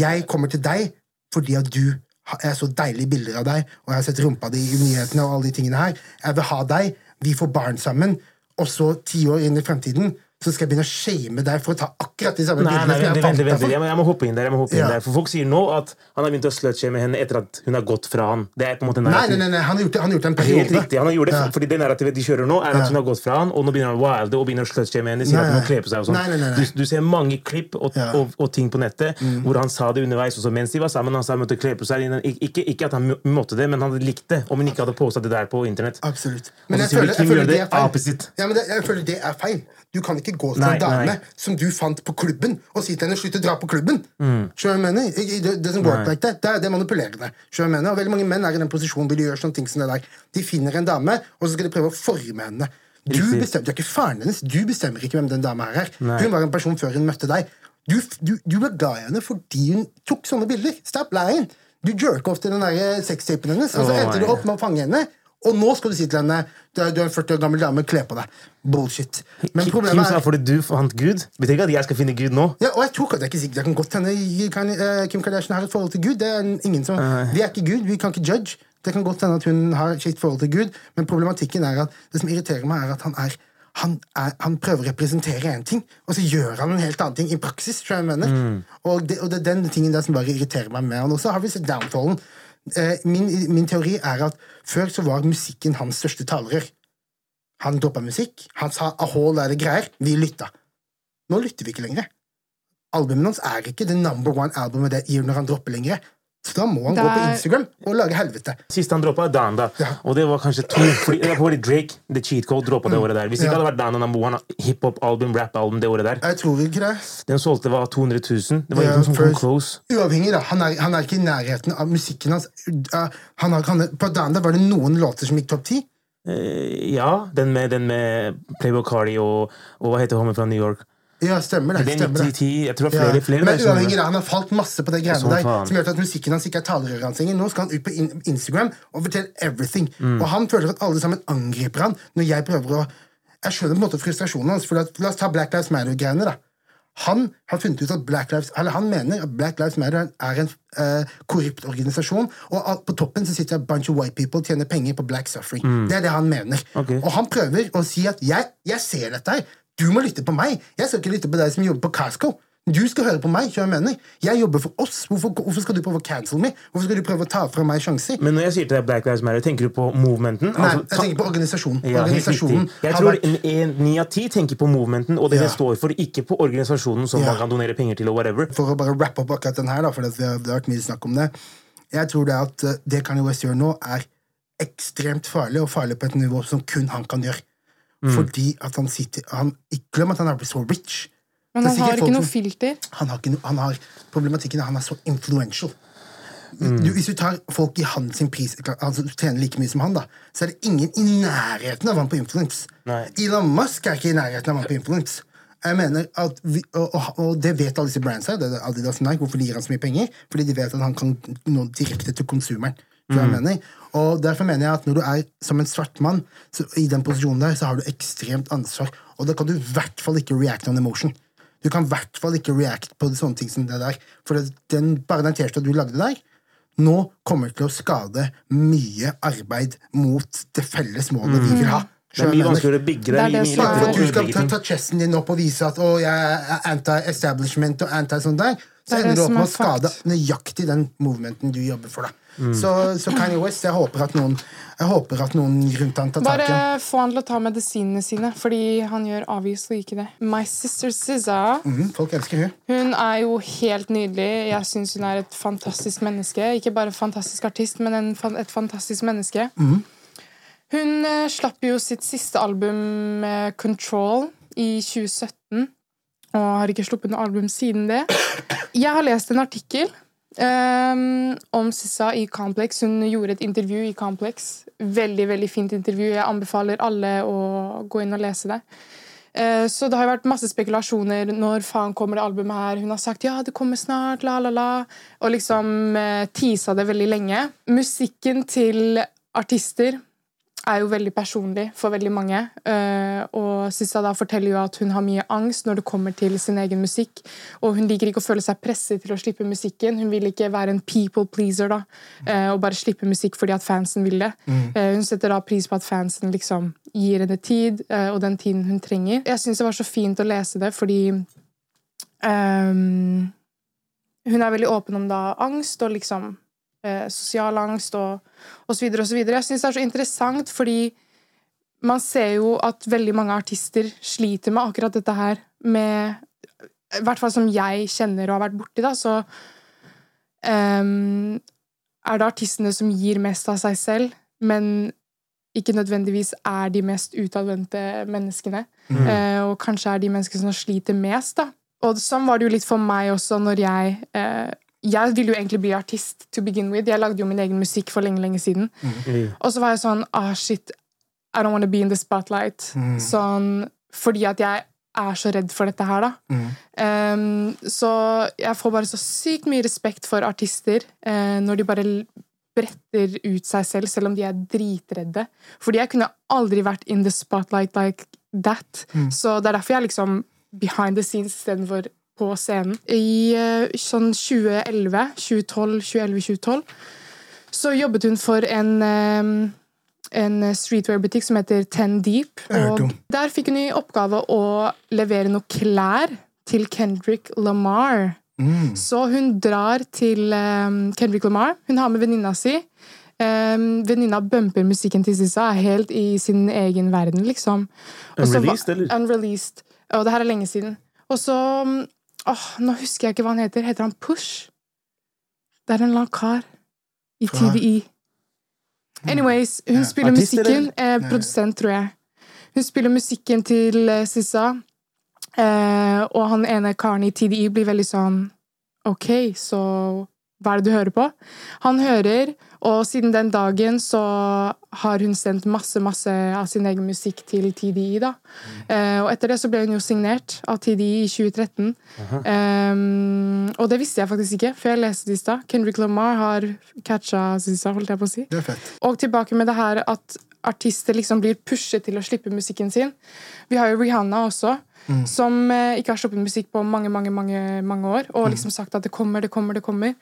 Speaker 2: Jeg kommer til deg fordi at du ha- Jeg så deilige bilder av deg, og jeg har sett rumpa di i nyhetene og alle de tingene her. Jeg vil ha deg. Vi får barn sammen. Og så, ti år inn i fremtiden, så skal jeg begynne å shame deg for å ta akkurat de samme
Speaker 3: Nei, nei,
Speaker 2: bildene som
Speaker 3: vent,
Speaker 2: jeg
Speaker 3: vent,
Speaker 2: fant
Speaker 3: vent,
Speaker 2: deg
Speaker 3: vent. Jeg,
Speaker 2: for.
Speaker 3: må, jeg må hoppe inn der. jeg må hoppe inn
Speaker 2: Ja.
Speaker 3: der For Folk sier nå at han har begynt å slutshame henne etter at hun har gått fra han. Det er på en måte
Speaker 2: Nei, nei,
Speaker 3: narrativ.
Speaker 2: nei, nei, han har gjort det, han har gjort det en periode.
Speaker 3: Helt riktig. han har gjort det
Speaker 2: Ja.
Speaker 3: Fordi det narrativet de kjører nå, er at hun har gått fra han, og nå begynner han å wilde og begynner å slutshame henne. Sier
Speaker 2: Nei,
Speaker 3: at hun må
Speaker 2: nei.
Speaker 3: kle på seg og sånn.
Speaker 2: Nei, nei, nei, nei.
Speaker 3: Du, du ser mange klipp og,
Speaker 2: Ja. Mm.
Speaker 3: og, og ting på nettet hvor han sa det underveis også mens de var sammen. Han sa han måtte kle på seg. Ik ikke, ikke at han må- måtte det, men han likte det om hun ikke hadde posta det der på internett.
Speaker 2: Absolutt.
Speaker 3: Og så sier du, Kim gjør det opposite.
Speaker 2: Ja, men det, jeg føler det er feil. Du kan ikke gå til
Speaker 3: Nei,
Speaker 2: en dame
Speaker 3: nei.
Speaker 2: som du fant på klubben, og si til henne 'slutt å dra på klubben'.
Speaker 3: Mm.
Speaker 2: Skjønner du hva jeg mener? I- i Det, det som går like that, det, er- det er manipulerende. Skjønner du hva jeg mener? Og veldig mange menn er i den posisjonen hvor de gjør sånne ting som det der. De finner en dame, og så skal de prøve å forme henne. Du
Speaker 3: Riktig.
Speaker 2: bestemmer, du er ikke faren hennes. Du bestemmer ikke hvem den dama her er.
Speaker 3: Nei.
Speaker 2: Hun var en person før hun møtte deg. Du, du, du ble glad i henne fordi hun tok sånne bilder. Stop lying! Du jerker opp til den der eh, sextapen hennes, og så
Speaker 3: Åh,
Speaker 2: endte du
Speaker 3: nei.
Speaker 2: opp med å fange henne. Og nå skal du si til henne du er du er en 40 år gammel dame, kle på deg. Bullshit. Men
Speaker 3: Kim
Speaker 2: problemet
Speaker 3: sa
Speaker 2: er
Speaker 3: fordi du fant Gud. Betyr ikke at jeg skal finne Gud nå.
Speaker 2: ja, og jeg tror ikke at det er ikke sikkert det kan godt hende kan- eh, Kim Kardashian har et forhold til Gud. Det er ingen som, vi er ikke Gud, vi kan ikke judge. Det kan godt hende at hun har et sitt forhold til Gud, men problematikken er at det som irriterer meg, er at han er han, er, han prøver å representere én ting, og så gjør han en helt annen ting i praksis. tror jeg jeg mener. Og, det, og det er den tingen der som bare irriterer meg med han også. Har vi sett downfallen? Eh, min, min teori er at før så var musikken hans største talerør. Han droppa musikk. Han sa 'a hole er det greier'. Vi lytta. Nå lytter vi ikke lenger. Albumet hans er ikke det number one albumet det gir når han dropper lenger. Så da må han
Speaker 1: Det
Speaker 2: gå på
Speaker 1: er-
Speaker 2: Instagram og lage helvete.
Speaker 3: Siste han droppa, er Danda.
Speaker 2: Ja.
Speaker 3: Og det var kanskje to. Fordi, det var fordi Drake, The Cheat Code, droppa det året der. Hvis ikke
Speaker 2: Mm. Ja.
Speaker 3: hadde vært Danda Nambo, han har hiphop-album, rap-album det året der.
Speaker 2: Jeg tror ikke det.
Speaker 3: Den solgte var 200 000. Det var
Speaker 2: Ja,
Speaker 3: ikke noe som kom
Speaker 2: first-
Speaker 3: close.
Speaker 2: Uavhengig, da. Han er, han er ikke i nærheten av musikken hans. Uh, Han har, han, på Danda var det noen låter som gikk topp ti.
Speaker 3: Eh, ja, den med, den med Playboy Cardi og, og hva heter hommen fra New York?
Speaker 2: Ja, stemmer det.
Speaker 3: Den
Speaker 2: stemmer det.
Speaker 3: 10-10, jeg tror det
Speaker 2: Ja.
Speaker 3: var flere, flere
Speaker 2: Men
Speaker 3: der som-
Speaker 2: uavhengig da, han har falt masse på det greiene
Speaker 3: Sånn
Speaker 2: der,
Speaker 3: faen.
Speaker 2: som gjør at musikken hans ikke er talerøret hans lenger. Nå skal han ut på in Instagram og fortelle everything.
Speaker 3: Mm.
Speaker 2: Og han føler at alle sammen angriper han når jeg prøver å Jeg skjønner på en måte frustrasjonen hans. For at, la oss ta Black Lives Matter-greiene, da. Han har funnet ut at Black Lives Eller han mener at Black Lives Matter er en eh, korrupt organisasjon, og at på toppen så sitter det a bunch of white people og tjener penger på black suffering. Det er det han mener.
Speaker 3: Mm. Ok.
Speaker 2: Og han prøver å si at jeg, jeg ser dette her. Du må lytte på meg. Jeg skal ikke lytte på deg som jobber på Casco. Du skal høre på meg. skjønner du hva Jeg mener. Jeg jobber for oss. Hvorfor, hvorfor skal du prøve å cancel meg? Hvorfor skal du prøve å ta fra meg sjanser?
Speaker 3: Men når jeg sier til deg Black Lives Matter, tenker du på movementen?
Speaker 2: Nei,
Speaker 3: Altså,
Speaker 2: jeg tenker på organisasjonen.
Speaker 3: Ja, helt
Speaker 2: organisasjonen
Speaker 3: riktig. Jeg
Speaker 2: har
Speaker 3: tror
Speaker 2: vært-
Speaker 3: en- en- ni av ti tenker på movementen og det
Speaker 2: Ja.
Speaker 3: det står for, ikke på organisasjonen som
Speaker 2: Ja.
Speaker 3: man kan donere penger til og whatever.
Speaker 2: for å bare rappe opp akkurat den her, da, for det, det har vært mye snakk om det Jeg tror det at eh, det Kanye West gjør nå, er ekstremt farlig, og farlig på et nivå som kun han kan gjøre.
Speaker 3: Mm.
Speaker 2: Fordi at han sitter han, Ikke glem at han er så rich.
Speaker 1: Men
Speaker 2: Det er
Speaker 1: han
Speaker 2: sikkert
Speaker 1: har ikke
Speaker 2: folk
Speaker 1: noe
Speaker 2: som-
Speaker 1: filter.
Speaker 2: han har, ikke, no- han har problematikken er han er så influential. Du, hvis du tar folk i hans sin pris, altså du tjener like mye som han, da, så er det ingen i nærheten av han på influence.
Speaker 3: Nei.
Speaker 2: Elon Musk er ikke i nærheten av han på influence. Jeg mener at vi, og, og, og det vet alle disse brands her. Det er Adidas og Nike, Hvorfor de gir han så mye penger? Fordi de vet at han kan nå direkte til konsumeren. tror jeg
Speaker 3: Mm.
Speaker 2: jeg Mener. Og Derfor mener jeg at når du er som en svart mann så, i den posisjonen der, så har du ekstremt ansvar. Og da kan du i hvert fall ikke react on emotion. Du kan i hvert fall ikke react på sånne ting som det der. For det, den, bare den T-skjorta du lagde der, nå kommer det til å skade mye arbeid mot det felles målet vi vil ha.
Speaker 3: Mm. Det er
Speaker 2: Skjønner jeg
Speaker 3: mye
Speaker 2: mener?
Speaker 3: vanskeligere å bygge
Speaker 1: Det
Speaker 3: det. er
Speaker 1: er
Speaker 3: mye,
Speaker 1: det
Speaker 3: mye
Speaker 1: som
Speaker 2: Ja,
Speaker 3: lettere
Speaker 2: for
Speaker 3: å
Speaker 2: at du skal
Speaker 3: bygge
Speaker 2: ta,
Speaker 3: ting.
Speaker 2: ta chesten din opp og vise at å, jeg er anti-establishment og anti-sånn der, så
Speaker 1: Det er
Speaker 2: ender
Speaker 1: det
Speaker 2: du opp
Speaker 1: som
Speaker 2: med
Speaker 1: er
Speaker 2: å skade
Speaker 1: fucked.
Speaker 2: nøyaktig den movementen du jobber for. Da. Så, så Kanye West, jeg håper at noen, jeg håper at noen rundt han tar tak
Speaker 1: Bare eh,
Speaker 2: i ham.
Speaker 1: få han til å ta medisinene sine, fordi han gjør obviously ikke det. My sister SZA,
Speaker 2: Mm, folk elsker henne.
Speaker 1: hun er jo helt nydelig. Jeg syns hun er et fantastisk menneske. Ikke bare fantastisk artist, men en, fan- et fantastisk menneske. Hun eh, slapp jo sitt siste album, eh, Control, i 2017. Og har ikke sluppet noe album siden det. Jeg har lest en artikkel ehm, om Sissa i Complex. Hun gjorde et intervju i Complex. Veldig veldig fint intervju. Jeg anbefaler alle å gå inn og lese det. Eh, Så det har jo vært masse spekulasjoner. Når faen kommer det albumet her? Hun har sagt ja, det kommer snart, la, la, la. Og liksom eh, teasa det veldig lenge. Musikken til artister er jo veldig personlig for veldig mange. eh, Og Sissa da forteller jo at hun har mye angst når det kommer til sin egen musikk. Og hun liker ikke å føle seg presset til å slippe musikken. Hun vil ikke være en people pleaser da, eh, og bare slippe musikk fordi at fansen vil det. Eh, Hun setter da pris på at fansen liksom gir henne tid, eh, og den tiden hun trenger. Jeg syns det var så fint å lese det, fordi ehm, hun er veldig åpen om da angst og liksom eh, sosial angst og, og så videre og så videre. Jeg syns det er så interessant fordi man ser jo at veldig mange artister sliter med akkurat dette her med I hvert fall som jeg kjenner og har vært borti, da, så ehm, er det artistene som gir mest av seg selv, men ikke nødvendigvis er de mest utadvendte menneskene. Eh, og kanskje er de menneskene som sliter mest, da. Og sånn var det jo litt for meg også når jeg eh, Jeg ville jo egentlig bli artist to begin with. Jeg lagde jo min egen musikk for lenge, lenge siden. Og så var jeg sånn Ah, shit. I don't want to be in the spotlight. Sånn fordi at jeg er så redd for dette her, da.
Speaker 2: Mm,
Speaker 1: Um, så jeg får bare så sykt mye respekt for artister eh, når de bare l- bretter ut seg selv, selv om de er dritredde. Fordi jeg kunne aldri vært in the spotlight like that. Så det er derfor jeg er liksom behind the scenes istedenfor på scenen. I eh, sånn 2011, 2012, 2011-2012 så jobbet hun for en eh, en streetwear-butikk som heter Ten Deep.
Speaker 2: hørte
Speaker 1: Og
Speaker 2: om.
Speaker 1: der fikk hun i oppgave å levere noen klær til Kendrick Lamar. Så hun drar til eh, Kendrick Lamar. Hun har med venninna si. Um, venninna bumper musikken til Sissa, er helt i sin egen verden, liksom. Og så var-
Speaker 3: Unreleased, eller?
Speaker 1: Unreleased. Og det her er lenge siden. Og så mm, åh, Nå husker jeg ikke hva han heter. Heter han Push? Det er en lang kar i
Speaker 2: Fra-
Speaker 1: TVI. Anyways, hun spiller
Speaker 3: Artist,
Speaker 1: musikken. Eh, produsent, tror jeg. Hun spiller musikken til eh, Sissa, eh, og han ene karen i TDI blir veldig sånn Ok, så hva er det du hører på? Han hører, og siden den dagen så har hun sendt masse, masse av sin egen musikk til TDI, da. Eh, og etter det så ble hun jo signert av TDI i 2013. Eh, og det visste jeg faktisk ikke, for jeg leste det i stad. Kendrick Lamar har catcha Sissa, holdt jeg på å si.
Speaker 2: Det er fett.
Speaker 1: Og tilbake med det her at artister liksom blir pushet til å slippe musikken sin. Vi har jo Rihanna også,
Speaker 2: Mm.
Speaker 1: som eh, ikke har sluppet musikk på mange, mange, mange, mange år,
Speaker 2: Mm.
Speaker 1: og liksom sagt at det kommer, det kommer, det kommer.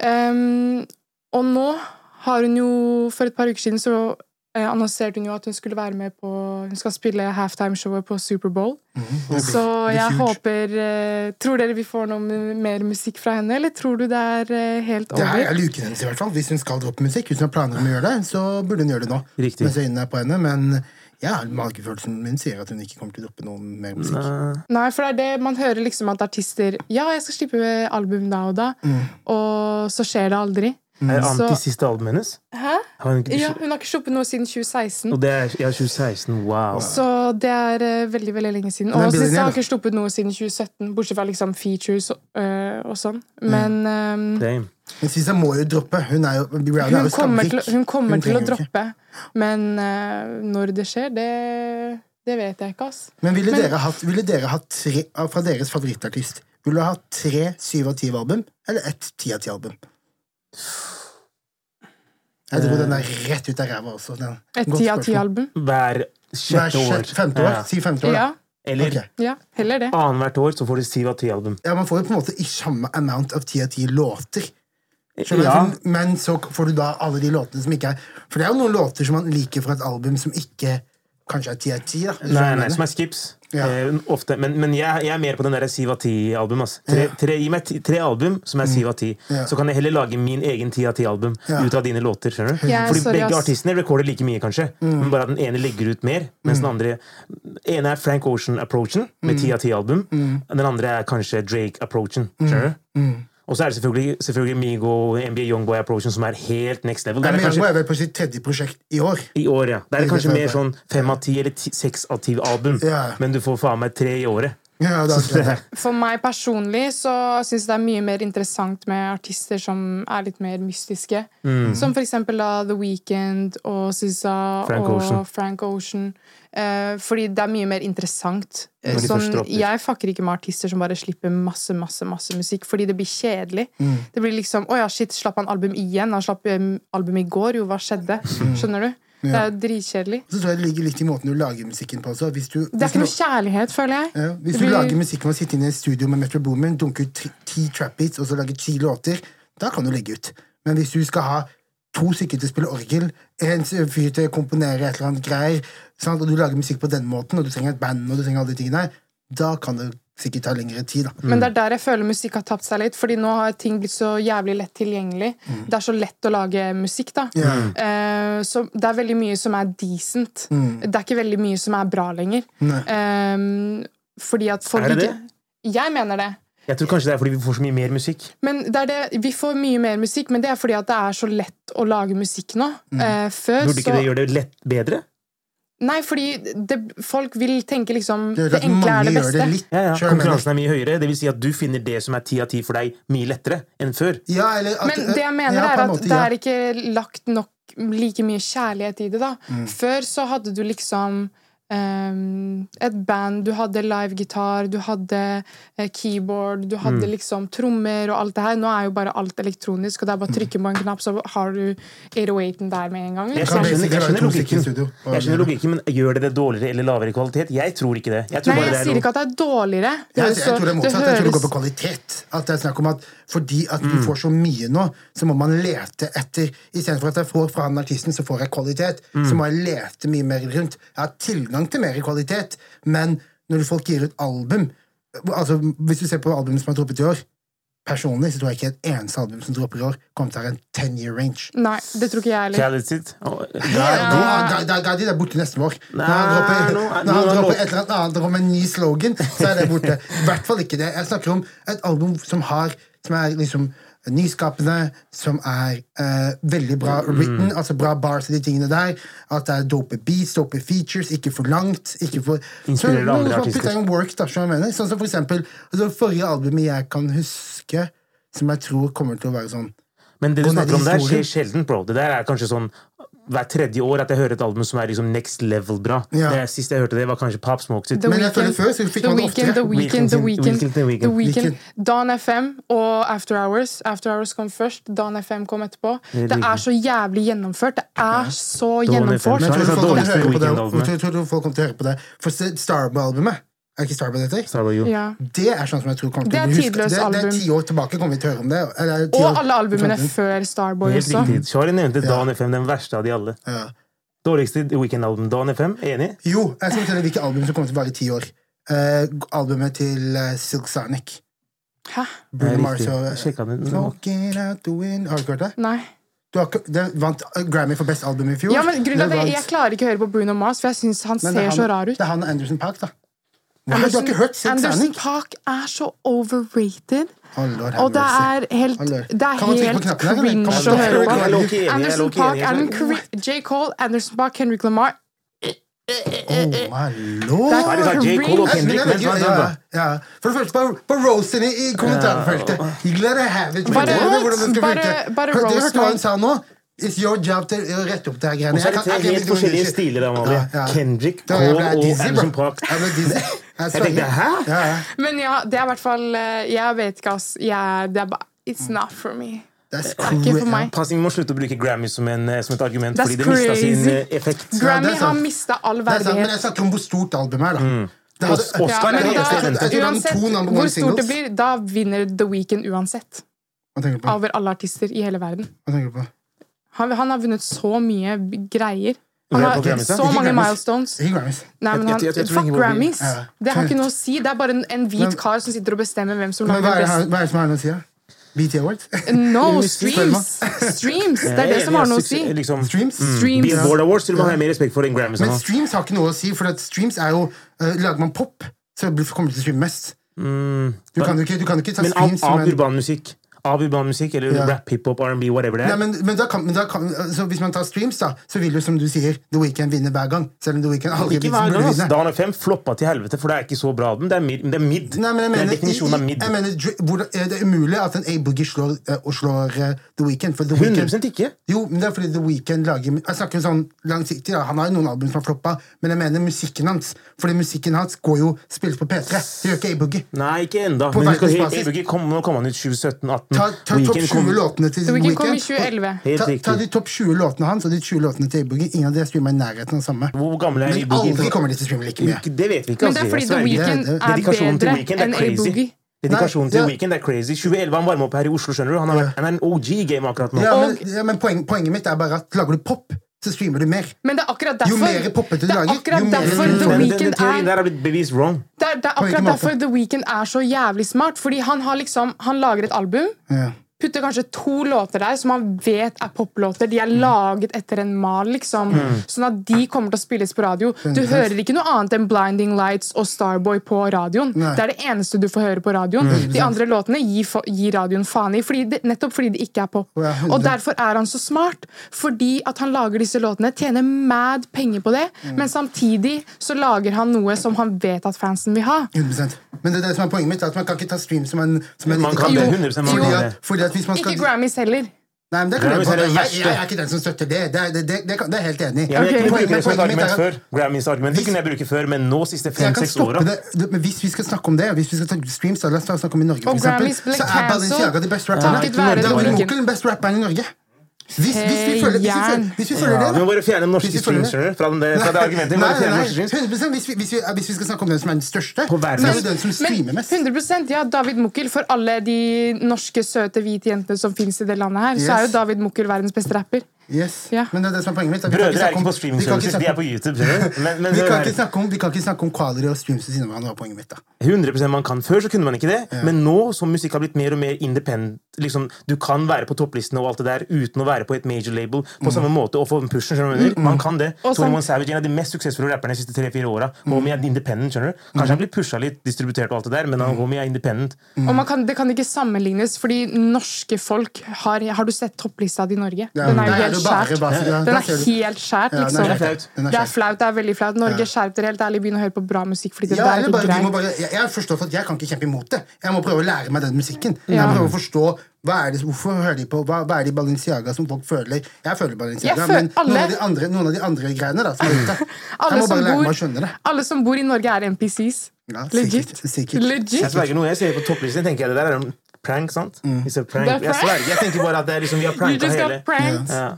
Speaker 1: Ehm, og nå har hun jo For et par uker siden så eh, annonserte hun jo at hun skulle være med på Hun skal spille halftimeshowet på Superbowl. Så
Speaker 2: Mm, blir
Speaker 1: jeg
Speaker 2: huge.
Speaker 1: håper eh, Tror dere vi får noe mer musikk fra henne, eller tror du det er eh, helt
Speaker 2: Det her
Speaker 1: over?
Speaker 2: er luken hennes, i hvert fall. Hvis hun skal droppe musikk, hvis hun har planer om å gjøre det, så burde hun gjøre det nå.
Speaker 3: Riktig.
Speaker 2: Mens øynene er på henne. Men ja, magefølelsen min sier at hun ikke kommer til å droppe noe mer musikk.
Speaker 1: Nei, for det er det man hører liksom at artister Ja, jeg skal slippe album da og da,
Speaker 2: Mm.
Speaker 1: og så skjer det aldri.
Speaker 3: Er det
Speaker 1: Så-
Speaker 3: anti siste albumet hennes?
Speaker 1: Hæ?
Speaker 3: Har hun ikke-
Speaker 1: Ja, hun har ikke sluppet noe siden 2016.
Speaker 3: Og det er ja, 2016. Wow.
Speaker 1: Så det er eh, veldig veldig lenge siden.
Speaker 2: Men
Speaker 1: Og
Speaker 2: blir det
Speaker 1: Sissa har
Speaker 2: ned, da?
Speaker 1: ikke sluppet noe siden 2017, bortsett fra liksom features og, øh, og sånn.
Speaker 2: Mm.
Speaker 1: Men øhm,
Speaker 3: Damn.
Speaker 2: Men Sisa må jo droppe. Hun er jo, Bobby Brown er
Speaker 1: hun
Speaker 2: jo
Speaker 1: kommer til,
Speaker 2: skamrik.
Speaker 1: hun kommer til å
Speaker 2: trenger jo ikke.
Speaker 1: droppe. Men øh, når det skjer, det, det vet jeg ikke, ass.
Speaker 2: Men ville dere hatt, ville dere hatt tre, fra deres favorittartist Ville du hatt tre syv av ti-album, eller ett ti av ti-album? Jeg tror den er rett ut av ræva også. Den.
Speaker 1: Eh. Et
Speaker 2: Godt
Speaker 1: ti av
Speaker 2: spørsmål.
Speaker 1: ti-album.
Speaker 3: Hver
Speaker 2: Hver
Speaker 3: sjette år.
Speaker 2: sjette- Femte år.
Speaker 3: Ja.
Speaker 2: Si femte år, da.
Speaker 1: Ja,
Speaker 3: Eller
Speaker 2: Ok.
Speaker 1: ja, heller det.
Speaker 3: annethvert år så får de syv av ti album.
Speaker 2: Ja, man får jo på en måte i samme amount av ti av ti låter. Skjønner du?
Speaker 3: Ja.
Speaker 2: Sånn, Men så får du da alle de låtene som ikke er For det er jo noen låter som man liker fra et album som ikke kanskje er ti av ti, da. hvis du
Speaker 3: Nei,
Speaker 2: skjønner
Speaker 3: nei,
Speaker 2: det.
Speaker 3: som er skips.
Speaker 2: Ja.
Speaker 3: Eh, ofte. Men, men jeg, jeg er mer på den der 7 av 10-album. Tre, tre, gi meg ti, tre album som er 7 av 10.
Speaker 2: Mm. Ja.
Speaker 3: Så kan jeg heller lage min egen 10 av 10-album
Speaker 2: Ja.
Speaker 3: ut av dine låter. skjønner du?
Speaker 1: Ja,
Speaker 3: Fordi
Speaker 1: sorry,
Speaker 3: begge
Speaker 1: ass.
Speaker 3: artistene recorder like mye, kanskje.
Speaker 2: Mm.
Speaker 3: Men bare at den ene legger ut mer. Mens den andre ene er Frank Ocean-approachen
Speaker 2: Mm.
Speaker 3: med 10 av 10-album. Den andre er kanskje Drake-approachen.
Speaker 2: Mm.
Speaker 3: skjønner du? Og så er det selvfølgelig, selvfølgelig Migo NBA Youngboy-approachen, som er helt next level. Der
Speaker 2: Nei,
Speaker 3: er
Speaker 2: men
Speaker 3: kanskje-
Speaker 2: Jango er vel på sitt tredje prosjekt i år.
Speaker 3: i år, ja. Det er
Speaker 2: Ikke
Speaker 3: kanskje
Speaker 2: sant,
Speaker 3: mer
Speaker 2: ja.
Speaker 3: sånn fem av ti eller ti- seks av ti album.
Speaker 2: Ja.
Speaker 3: Men du får faen meg tre i året.
Speaker 2: Ja, det er akkurat det.
Speaker 1: For meg personlig så syns jeg det er mye mer interessant med artister som er litt mer mystiske.
Speaker 3: Mm.
Speaker 1: Som for eksempel da The Weeknd og SZA
Speaker 3: Frank
Speaker 1: og
Speaker 3: Ocean.
Speaker 1: Frank Ocean. Eh, fordi det er mye mer interessant. Eh,
Speaker 3: Når de
Speaker 1: Sånn,
Speaker 3: først dropper.
Speaker 1: jeg fucker ikke med artister som bare slipper masse, masse masse musikk, fordi det blir kjedelig.
Speaker 3: Mm.
Speaker 1: Det blir liksom 'Å ja, shit, slapp han album igjen?' Han slapp eh, album i går, jo, hva skjedde?
Speaker 3: Mm.
Speaker 1: Skjønner du? Det er jo dritkjedelig.
Speaker 2: Så tror jeg det ligger litt i måten du lager musikken på også. Hvis du,
Speaker 1: Det er
Speaker 2: hvis
Speaker 1: ikke
Speaker 2: du-
Speaker 1: noe kjærlighet, føler jeg.
Speaker 2: ja,
Speaker 1: Det
Speaker 2: hvis du
Speaker 1: blir-
Speaker 2: lager musikken ved å sitte inne i et studio med Metro Boomin, dunke ut tri- ti trap beats og så lage ti låter, da kan du legge ut. Men hvis du skal ha to stykker til å spille orgel, en s- fyr til å komponere et eller annet greier, sant? og du lager musikk på den måten, og du trenger et band, og du trenger alle de tingene her, da kan det sikkert ta lengre tid,
Speaker 3: Mm.
Speaker 2: da.
Speaker 1: Men det er der jeg føler musikk har tapt seg litt, fordi nå har ting blitt så jævlig lett tilgjengelig.
Speaker 3: Mm.
Speaker 1: Det er så lett å lage musikk, da. Eh, så det er veldig mye som er decent.
Speaker 2: Mm.
Speaker 1: Det er ikke veldig mye som er bra lenger. Eh, fordi at folk
Speaker 3: Er det
Speaker 1: ikke- Jeg mener det.
Speaker 3: Jeg tror kanskje det er fordi vi får så mye mer musikk.
Speaker 1: Men det er det, vi får mye mer musikk, men det er fordi at det er så lett å lage musikk nå. Eh, før
Speaker 3: Mm. Burde ikke
Speaker 1: så
Speaker 3: det gjøre det lett bedre?
Speaker 1: Nei, fordi det, folk vil tenke liksom
Speaker 2: Det
Speaker 1: Det,
Speaker 2: gjør at
Speaker 1: enkle er
Speaker 2: mange
Speaker 1: det
Speaker 2: gjør
Speaker 1: beste.
Speaker 2: det litt
Speaker 3: Ja, ja.
Speaker 2: selv om jeg-
Speaker 3: Konkurransen er mye høyere. Det vil si at du finner det som er ti av ti for deg, mye lettere enn før.
Speaker 2: Ja, eller at,
Speaker 1: Men det jeg mener,
Speaker 2: ja, på
Speaker 1: er
Speaker 2: en
Speaker 1: at
Speaker 2: måte,
Speaker 1: det
Speaker 2: ja.
Speaker 1: er ikke lagt nok like mye kjærlighet i det. da.
Speaker 2: Mm.
Speaker 1: Før så hadde du liksom ehm, et band, du hadde livegitar, du hadde eh, keyboard, du hadde
Speaker 2: Mm.
Speaker 1: liksom trommer og alt det her. Nå er jo bare alt elektronisk, og det er bare å trykke på en knapp, så har du 808-en der med en gang.
Speaker 3: Jeg
Speaker 1: Liksom.
Speaker 2: kan
Speaker 3: skjønner, jeg
Speaker 2: basically
Speaker 3: skjønner,
Speaker 2: være to stykker i
Speaker 3: logikken.
Speaker 2: studio.
Speaker 3: Jeg skjønner logikken, Men gjør det det dårligere eller lavere kvalitet? Jeg tror ikke det. Jeg tror
Speaker 1: Nei,
Speaker 3: bare
Speaker 1: jeg
Speaker 3: det er
Speaker 1: sier
Speaker 3: noe-
Speaker 1: ikke at det er dårligere.
Speaker 2: Jeg,
Speaker 1: høres
Speaker 2: jeg
Speaker 1: så-
Speaker 2: tror det er motsatt. Jeg tror det går på kvalitet. At det er snakk om at Fordi at du får så mye nå, så må man lete etter Istedenfor at jeg får fra han artisten, så får jeg kvalitet. Så må jeg lete mye mer rundt. Jeg har tilgang til mer kvalitet, men når folk gir ut album altså Hvis du ser på albumet som er droppet i år Personlig så tror jeg ikke et eneste album som dropper i år, kommer til å ha en 10 year range.
Speaker 1: Nei, det tror ikke jeg heller.
Speaker 3: Khaled sitt. Å,
Speaker 2: Ja,
Speaker 3: ja,
Speaker 2: da, da, da, da, de er borte neste vår. Når han
Speaker 3: Nei,
Speaker 2: dropper,
Speaker 3: nå
Speaker 2: når
Speaker 3: er- nå
Speaker 2: han
Speaker 3: er
Speaker 2: dropper
Speaker 3: lov-
Speaker 2: et eller annet annet om en ny slogan, så er det borte. I hvert fall ikke det. Jeg snakker om et album som, har, som er liksom nyskapende, som er eh, veldig bra
Speaker 3: Mm.
Speaker 2: written, altså bra bars og de tingene der. At det er dope beats, dope features, ikke for langt. Ikke for, så,
Speaker 3: Inspirerer andre
Speaker 2: noe som
Speaker 3: artister.
Speaker 2: putter en work, da, som jeg mener. Sånn som for eksempel altså, forrige albumet jeg kan huske, som jeg tror kommer til å være sånn
Speaker 3: Men det du
Speaker 2: Gå ned i
Speaker 3: snakker om der, skjer
Speaker 2: historien.
Speaker 3: sjelden, bro. Det der er kanskje sånn hvert tredje år at jeg hører et album som er liksom next level bra.
Speaker 2: Ja.
Speaker 3: Det sist jeg hørte det, var kanskje Pop Smoke sitt.
Speaker 1: The
Speaker 2: Men jeg føler
Speaker 1: Weeknd,
Speaker 2: før så fikk man det oftere.
Speaker 1: The Weekend, The
Speaker 3: Weeknd,
Speaker 1: Weekend,
Speaker 3: The
Speaker 1: The
Speaker 3: Weeknd.
Speaker 1: Weekend, The Weekend.
Speaker 2: Weekend.
Speaker 1: Don FM og After Hours. After Hours kom først, Don FM kom etterpå. Det
Speaker 3: Weeknd.
Speaker 1: er så jævlig gjennomført. Det er så
Speaker 3: FM.
Speaker 1: gjennomført.
Speaker 2: Men jeg
Speaker 3: Så
Speaker 2: tror
Speaker 3: er det
Speaker 2: folk kommer
Speaker 3: dårligste
Speaker 2: til å høre på det.
Speaker 3: weekendalumet.
Speaker 2: Jeg tror- tror folk kommer til å høre på det. For Starboy-albumet er ikke Starboy det heter?
Speaker 3: Sa det jo.
Speaker 1: Ja.
Speaker 2: Det er sånn som jeg tror kommer til
Speaker 1: Det
Speaker 2: å
Speaker 1: er
Speaker 2: bli
Speaker 1: tidløst
Speaker 2: Det, det er
Speaker 1: album.
Speaker 2: ti år tilbake kommer vi til å høre om det. Eller, ti år
Speaker 1: Og alle albumene
Speaker 2: tilbake.
Speaker 1: før Starboy
Speaker 3: Helt
Speaker 1: også.
Speaker 3: riktig. Shari nevnte Dan FM, den verste av de alle.
Speaker 2: Ja.
Speaker 3: Dårligste Weekend-album. Dan FM, enig?
Speaker 2: Jo, jeg skal fortelle hvilke album som kommer til å vare i ti år. Eh, albumet til eh, Silk Sonic.
Speaker 1: Hæ?
Speaker 3: Det
Speaker 2: Bruno
Speaker 3: er
Speaker 2: Mars
Speaker 3: riktig.
Speaker 2: og
Speaker 3: Jeg sjekket den.
Speaker 2: Smoking out the wind. Har du ikke hørt det?
Speaker 1: Nei.
Speaker 2: Du har, ikke- det vant eh, Grammy for best album i fjor.
Speaker 1: Ja, men grunnen til
Speaker 2: Det
Speaker 1: at jeg,
Speaker 2: vant-
Speaker 1: jeg klarer ikke å høre på Bruno Mars, for jeg syns han
Speaker 2: Men det er
Speaker 1: ser så
Speaker 2: han-
Speaker 1: rar ut.
Speaker 2: Det er han og Anderson Park, da. Hva, du har
Speaker 1: Anderson,
Speaker 2: ikke hørt Silk
Speaker 1: Anderson
Speaker 2: Sonic?
Speaker 1: Park er så overrated.
Speaker 2: Å, Lord,
Speaker 1: Og det
Speaker 2: helvete.
Speaker 1: er helt,
Speaker 2: Han lø-
Speaker 1: det er
Speaker 2: Kan man trykke på
Speaker 1: helt
Speaker 2: knappen her, eller? Kan
Speaker 1: cringe
Speaker 2: man
Speaker 1: å
Speaker 2: stoppe?
Speaker 1: høre på.
Speaker 3: Jeg er low-key enig, jeg er
Speaker 1: Anderson
Speaker 3: low-key
Speaker 1: Park,
Speaker 3: enig, jeg
Speaker 1: Alan
Speaker 3: skjønner.
Speaker 1: Cre- J. Cole, Anderson Park, Henrik Lamar. eh,
Speaker 2: Oh, my lord!
Speaker 3: Hva er det da? J. Cole og
Speaker 2: Jeg- men
Speaker 3: Kendrick,
Speaker 2: jeg
Speaker 3: men
Speaker 2: vet
Speaker 3: hva
Speaker 2: jo-
Speaker 3: er det
Speaker 2: ja,
Speaker 3: da?
Speaker 2: ja. For det første, bare, bare roast henne i kommentarfeltet. Let her have it. men
Speaker 1: Bare-
Speaker 2: jeg vet ikke hvordan det skal
Speaker 1: bare-
Speaker 2: funke.
Speaker 1: bare
Speaker 2: Hørte-
Speaker 1: roast
Speaker 2: Hørte du hva
Speaker 1: meg.
Speaker 2: hun sa nå? It's your job to å rette opp det her greiene.
Speaker 3: Og så er det tre helt forskjellige stiler, Amalie. Kendrick, Cole og Anderson Park.
Speaker 2: Jeg ble dizzy. Jeg
Speaker 3: Jeg tenkte,
Speaker 2: sverger.
Speaker 3: hæ?
Speaker 2: Ja, ja.
Speaker 1: Men ja, det er i hvert fall eh, Jeg vet ikke, ass. Jeg, det er bare It's not for me.
Speaker 2: That's
Speaker 1: Det er ikke for meg.
Speaker 3: Passing må slutte å bruke Grammy som, en, eh, som et argument,
Speaker 1: That's
Speaker 3: fordi det mista sin
Speaker 1: crazy.
Speaker 3: eh, effekt.
Speaker 1: Grammy
Speaker 2: sant.
Speaker 1: har mista all
Speaker 2: Det er sant, men jeg
Speaker 1: verdighet.
Speaker 2: snakker om hvor stort albumet
Speaker 3: Mm.
Speaker 2: er, da. Det hadde-
Speaker 3: Os- Oscar
Speaker 1: Ja, men
Speaker 3: er det
Speaker 1: da,
Speaker 3: eneste
Speaker 2: jeg tror det er om
Speaker 1: uansett
Speaker 2: to number
Speaker 1: hvor
Speaker 2: one
Speaker 1: stort det
Speaker 2: singles.
Speaker 1: blir, da vinner The Weeknd uansett.
Speaker 2: Hva tenker du på?
Speaker 1: Over alle artister i hele verden.
Speaker 2: Hva tenker du på?
Speaker 1: Han, han har vunnet så mye b- greier. Han
Speaker 3: Hør
Speaker 1: har
Speaker 3: på Grammys, da.
Speaker 1: så
Speaker 2: Ikke
Speaker 1: mange
Speaker 2: Grammys.
Speaker 1: milestones.
Speaker 2: Ikke Grammys.
Speaker 1: Nei, men
Speaker 3: Jeg-
Speaker 1: han,
Speaker 3: jeg- jeg- jeg tror
Speaker 1: Fuck
Speaker 3: ingen blir-
Speaker 1: Grammys!
Speaker 2: Ja.
Speaker 1: Det har ikke noe å si. Det er bare en, en hvit kar som sitter og bestemmer hvem som
Speaker 2: Men hva
Speaker 1: lager
Speaker 2: er det, her-
Speaker 1: best.
Speaker 2: hva er det som er noe å si, da? BT Awards?
Speaker 1: No,
Speaker 2: Mister
Speaker 1: streams! Streams! Det er det som har noe å si.
Speaker 3: Liksom,
Speaker 2: Streams?
Speaker 1: Streams.
Speaker 3: Billboard Awards vil man ha mer respekt for enn Grammys.
Speaker 2: Men
Speaker 3: nå.
Speaker 2: streams har ikke noe å si, for at streams er jo eh, Lager man pop, så blir- kommer det til å streame mest. Du kan jo ikke, du kan jo ikke ta
Speaker 3: Mm, Men av,
Speaker 2: streams som
Speaker 3: av
Speaker 2: en
Speaker 3: urban musikk Av urban musikk, eller
Speaker 2: Ja.
Speaker 3: rap, hiphop, R&B, whatever det
Speaker 2: Nei,
Speaker 3: er.
Speaker 2: men, men, da kan, men da kan, så Hvis man tar streams, da så vil jo, som du sier, The Weeknd vinne hver gang. Selv om The Weeknd aldri
Speaker 3: ikke
Speaker 2: vinner-
Speaker 3: hver gang,
Speaker 2: burde
Speaker 3: altså.
Speaker 2: vinne.
Speaker 3: Dan FM floppa til helvete, for det er ikke så bra album. Det er mid. Det er, mid.
Speaker 2: Nei, men jeg mener,
Speaker 3: det er definisjonen av
Speaker 2: i- i-
Speaker 3: mid.
Speaker 2: jeg mener dr- hvordan- er det er umulig at en A-Boogie slår, eh, og slår eh, The Weeknd. For The Weeknd
Speaker 3: 100 ikke.
Speaker 2: jo, men det er fordi The Weeknd lager Jeg snakker jo sånn langsiktig, da. Han har jo noen album som har floppa, men jeg mener musikken hans. Fordi musikken hans går jo spilles på P3. Det gjør ikke A-Boogie.
Speaker 3: Nei, ikke ennå.
Speaker 2: På
Speaker 3: Men vi skal,
Speaker 2: verdensbasis.
Speaker 3: Abuggy kom, nå kom han ut 2017-18.
Speaker 2: Ta, ta topp 20 låtene til
Speaker 1: The
Speaker 2: The
Speaker 1: Weeknd
Speaker 2: Weeknd.
Speaker 1: kom i
Speaker 2: og-
Speaker 1: 2011.
Speaker 3: Mm. Helt
Speaker 2: Ta, ta
Speaker 3: riktig.
Speaker 2: de topp 20 låtene hans og de 20 låtene til A-Boogie. Ingen av de er streama i nærheten av det samme.
Speaker 3: Hvor gammel er
Speaker 2: Men
Speaker 3: Abuggy?
Speaker 2: aldri kommer de til å streame like mye.
Speaker 3: Det vet vi ikke.
Speaker 1: Men det er fordi The
Speaker 3: altså, jeg sverger.
Speaker 2: Weeknd
Speaker 1: Weekend
Speaker 2: det-
Speaker 1: er
Speaker 3: Dedikasjonen til
Speaker 1: bedre
Speaker 3: Weeknd er
Speaker 1: enn A
Speaker 3: crazy.
Speaker 1: Boogie.
Speaker 3: Dedikasjonen
Speaker 2: ja.
Speaker 3: til Weekend er crazy. 2011 han varma opp her i Oslo, skjønner du. Han har vært han er en OG-game akkurat nå.
Speaker 2: Ja, men,
Speaker 1: Og-
Speaker 2: ja, men poeng, Poenget mitt er bare at lager du pop, så streamer du mer.
Speaker 1: Men det er akkurat
Speaker 2: Jo
Speaker 1: derfor
Speaker 2: mer poppete du
Speaker 1: Det er
Speaker 2: lager, jo
Speaker 1: akkurat
Speaker 2: mer-
Speaker 1: derfor The
Speaker 3: Den, den, den
Speaker 1: Weeknd
Speaker 3: teorien
Speaker 1: er
Speaker 3: der har blitt bevist wrong.
Speaker 1: Det er, det er
Speaker 2: hvilken
Speaker 1: akkurat
Speaker 2: måte?
Speaker 1: derfor The Weeknd er så jævlig smart. Fordi han har liksom, han lager et album,
Speaker 2: Ja.
Speaker 1: putter kanskje to låter der som han vet er poplåter. De er laget etter en mal, liksom.
Speaker 2: Mm.
Speaker 1: Sånn at de kommer til å spilles på radio. Du hører ikke noe annet enn Blinding Lights og Starboy på radioen.
Speaker 2: Nei. Mm,
Speaker 1: Det er det eneste du får høre på radioen. De andre låtene gir, fa- gir radioen faen i, fordi det, nettopp fordi det ikke er pop.
Speaker 2: Ja,
Speaker 1: Og
Speaker 2: hundre.
Speaker 1: derfor er han så smart. Fordi at han lager disse låtene, tjener mad penger på det,
Speaker 2: Mm.
Speaker 1: men samtidig så lager han noe som han vet at fansen vil ha.
Speaker 2: 100%. Men det er det som er poenget mitt, er at man kan ikke ta stream som en, som en
Speaker 3: Man kan
Speaker 1: det,
Speaker 3: 100% man
Speaker 2: Fordi
Speaker 3: kan
Speaker 2: at-
Speaker 3: det.
Speaker 2: fordi at hvis man skal
Speaker 1: Ikke Grammys heller.
Speaker 2: Nei, men det kan jeg,
Speaker 3: Grammys er
Speaker 2: bare,
Speaker 3: det
Speaker 2: jeg,
Speaker 3: verste.
Speaker 2: jeg er ikke den som støtter det. Det, er- det, det, det, kan, det er jeg helt enig i.
Speaker 3: Ja, men jeg
Speaker 2: Poenget-
Speaker 3: kunne bruke det som et
Speaker 2: poenget mitt er
Speaker 3: argument
Speaker 2: at-
Speaker 3: før. Grammys argument det
Speaker 2: Hvis-
Speaker 3: kunne jeg bruke før, men nå siste
Speaker 2: jeg kan
Speaker 3: fem-seks
Speaker 2: stoppe
Speaker 3: åra
Speaker 2: det, det- men Hvis vi skal snakke om det, hvis vi skal ta streams, da, la oss ta- snakke om i Norge, for
Speaker 1: Og
Speaker 2: eksempel,
Speaker 1: Grammys ble
Speaker 2: så er Balenciaga
Speaker 1: cancelled
Speaker 2: de beste rapperne.
Speaker 1: takket være
Speaker 2: Det er
Speaker 1: Norge.
Speaker 2: Onkel den beste rapperen i Norge. Hvis, hvis vi følger, hvis vi følger, hvis vi følger det,
Speaker 3: Vi
Speaker 2: da.
Speaker 3: må bare fjerne den norske
Speaker 2: Hvis vi følger det.
Speaker 3: streamsere fra, den der- fra det argumentet. Vi må
Speaker 2: Nei,
Speaker 3: bare fjerne
Speaker 2: nei,
Speaker 3: den
Speaker 2: nei,
Speaker 3: norske streams.
Speaker 2: 100% hvis vi, hvis, vi, hvis vi skal snakke om den som er den største, så
Speaker 3: På
Speaker 2: er
Speaker 3: verden.
Speaker 2: det den som streamer
Speaker 1: Men
Speaker 2: mest.
Speaker 1: 100 ja, David Mukkel, for alle de norske, søte, hvite jentene som fins i det landet her, så er
Speaker 2: Yes.
Speaker 1: jo David Mukkel verdens beste rapper.
Speaker 2: Yes.
Speaker 1: Ja.
Speaker 2: Men det er det som er poenget mitt. at vi kan
Speaker 3: Brødre
Speaker 2: ikke
Speaker 3: er
Speaker 2: snakke
Speaker 3: ikke
Speaker 2: om-
Speaker 3: på
Speaker 2: vi kan ikke
Speaker 3: streamingservicer, de er
Speaker 2: snakke
Speaker 3: på
Speaker 2: om-
Speaker 3: YouTube. skjønner du? Men, men
Speaker 2: Vi
Speaker 3: det
Speaker 2: kan
Speaker 3: er-
Speaker 2: ikke snakke om, vi kan ikke snakke om quality og streams ved siden av hverandre. var poenget mitt da.
Speaker 3: 100 man kan. Før så kunne man ikke det, men nå som musikk har blitt mer og mer independent liksom, Du kan være på topplistene og alt det der uten å være på et major label på
Speaker 2: Mm.
Speaker 3: samme måte og få en pushen. skjønner du? hva jeg mener? Man kan det.
Speaker 1: Og
Speaker 3: Tony
Speaker 1: sam-
Speaker 3: One Savage, en av de mest suksessfulle rapperne de siste tre-fire åra.
Speaker 2: Mm.
Speaker 3: Homie er independent, skjønner du? Kanskje han blir pusha litt, distributert og alt det der, men
Speaker 2: Mm.
Speaker 3: han Homie er independent.
Speaker 1: Og man kan, Det kan ikke sammenlignes, fordi norske folk har Har du sett topplista di i Norge? Den er
Speaker 2: Nei,
Speaker 1: jo helt
Speaker 2: det bare-
Speaker 1: skjært.
Speaker 2: bare- ja,
Speaker 1: Den
Speaker 2: da
Speaker 1: er
Speaker 2: ser du.
Speaker 1: helt skjært,
Speaker 2: Ja, den er
Speaker 1: liksom.
Speaker 2: helt flaut. Den er
Speaker 1: Det er
Speaker 2: skjært.
Speaker 1: flaut, det er veldig flaut. Norge, skjerp dere helt ærlig, begynn å høre på bra musikk, fordi det
Speaker 2: Ja,
Speaker 1: der
Speaker 2: eller
Speaker 1: er
Speaker 2: bare,
Speaker 1: ikke
Speaker 2: vi må
Speaker 1: greit.
Speaker 2: bare, jeg, jeg har forstått at jeg kan ikke kjempe imot det. Jeg må prøve å lære meg den musikken. Jeg
Speaker 1: Ja.
Speaker 2: må prøve å forstå hva er det, Hvorfor hører de på hva, hva er det i Balenciaga som folk føler? Jeg føler Balenciaga,
Speaker 1: Jeg føler
Speaker 2: men noen
Speaker 1: alle-
Speaker 2: av, de andre, noen av de andre greiene da, som er ute. Jeg
Speaker 1: Alle
Speaker 2: må
Speaker 1: som,
Speaker 2: bare lære meg å
Speaker 1: bor,
Speaker 2: skjønne det.
Speaker 1: alle som bor i Norge, er NPCs.
Speaker 2: Ja, sikkert,
Speaker 1: Legit.
Speaker 2: sikkert.
Speaker 3: Jeg
Speaker 1: Legit.
Speaker 3: sverger noe, jeg ser på topplisten, tenker jeg det der er en prank, sant?
Speaker 2: Mm.
Speaker 3: It's a prank.
Speaker 1: Det er
Speaker 3: Jeg
Speaker 1: prank.
Speaker 3: sverger. Jeg tenker bare at det er liksom, vi har
Speaker 1: You
Speaker 3: pranka
Speaker 1: just
Speaker 3: hele
Speaker 1: got pranked.
Speaker 3: ja.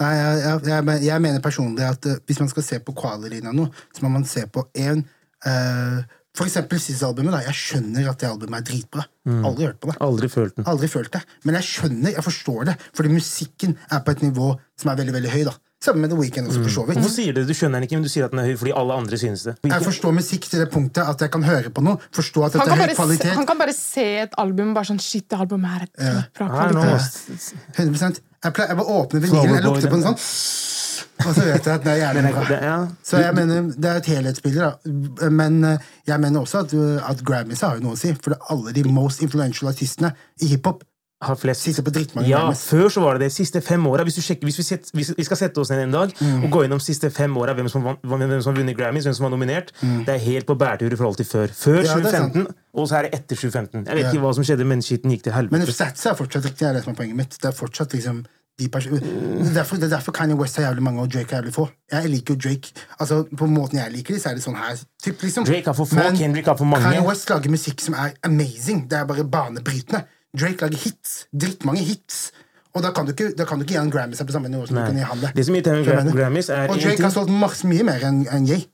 Speaker 2: Nei, jeg, jeg, jeg, men- jeg mener personlig at eh, hvis man skal se på qualityen av noe, så må man se på én For eksempel siste albumet. da, Jeg skjønner at det albumet er dritbra. Aldri hørt på det.
Speaker 3: Aldri følt den.
Speaker 2: Aldri følt det. Men jeg skjønner, jeg forstår det, fordi musikken er på et nivå som er veldig veldig høy. da. Sammen med The Weeknd også, for så vidt.
Speaker 1: Mm.
Speaker 3: Hvorfor sier du det? Du skjønner den ikke, men du sier at den er høy fordi alle andre synes det.
Speaker 2: Jeg forstår musikk til det punktet at jeg kan høre på noe, forstå at
Speaker 1: Han
Speaker 2: dette
Speaker 1: kan,
Speaker 2: er høy
Speaker 1: bare se, han
Speaker 2: kvalitet.
Speaker 1: kan bare se et album og bare sånn Shit, det albumet her er dritbra
Speaker 3: I
Speaker 1: kvalitet.
Speaker 3: don't know.
Speaker 2: 100% Jeg pleier jeg bare åpner vinylen, jeg lukter på den sånn, og så vet jeg at det er jævlig
Speaker 3: Det
Speaker 2: bra.
Speaker 3: er- ja.
Speaker 2: Så jeg mener, Det er et helhetsbilde, da. Men eh, jeg mener også at, uh, at Grammys har jo noe å si. For det er alle de most influential artistene i hiphop
Speaker 3: har flest
Speaker 2: sitter på drittmange
Speaker 3: Ja,
Speaker 2: Grammys.
Speaker 3: før så var det det. Siste fem åra. Hvis, du sjekker- hvis, vi set- hvis vi skal sette oss ned en dag
Speaker 2: Mm.
Speaker 3: og gå gjennom siste fem åra, hvem, som vant- hvem som har vunnet Grammys, hvem som var nominert, det er helt på bærtur i forhold til før. Før
Speaker 2: Mm. Ja, det er sant.
Speaker 3: 2015, og så er det etter 2015. Jeg vet
Speaker 2: Ja.
Speaker 3: ikke hva som skjedde, men skitten gikk til
Speaker 2: Men
Speaker 3: helvete.
Speaker 2: statsa er fortsatt riktig. Det er det som er poenget mitt. Det er fortsatt liksom de pers- det, er derfor, det er derfor Kanye West har jævlig mange, og Drake har jævlig få. Jeg liker jo Drake altså På måten jeg liker de, så er det sånn her. Typ, liksom.
Speaker 3: Drake har for få, Kendrick har for mange.
Speaker 2: Kanye West lager musikk som er amazing. Det er bare banebrytende. Drake lager hits. Drittmange hits. Og da kan du ikke, da kan du ikke gi han Grammys på samme nivå som
Speaker 3: Nei.
Speaker 2: du kan gi han det.
Speaker 3: Det som irriterer meg
Speaker 2: Skjønner
Speaker 3: med
Speaker 2: du?
Speaker 3: Grammys, er
Speaker 2: Og
Speaker 3: en
Speaker 2: Drake
Speaker 3: ting-
Speaker 2: har solgt masse mye mer enn enn Ye.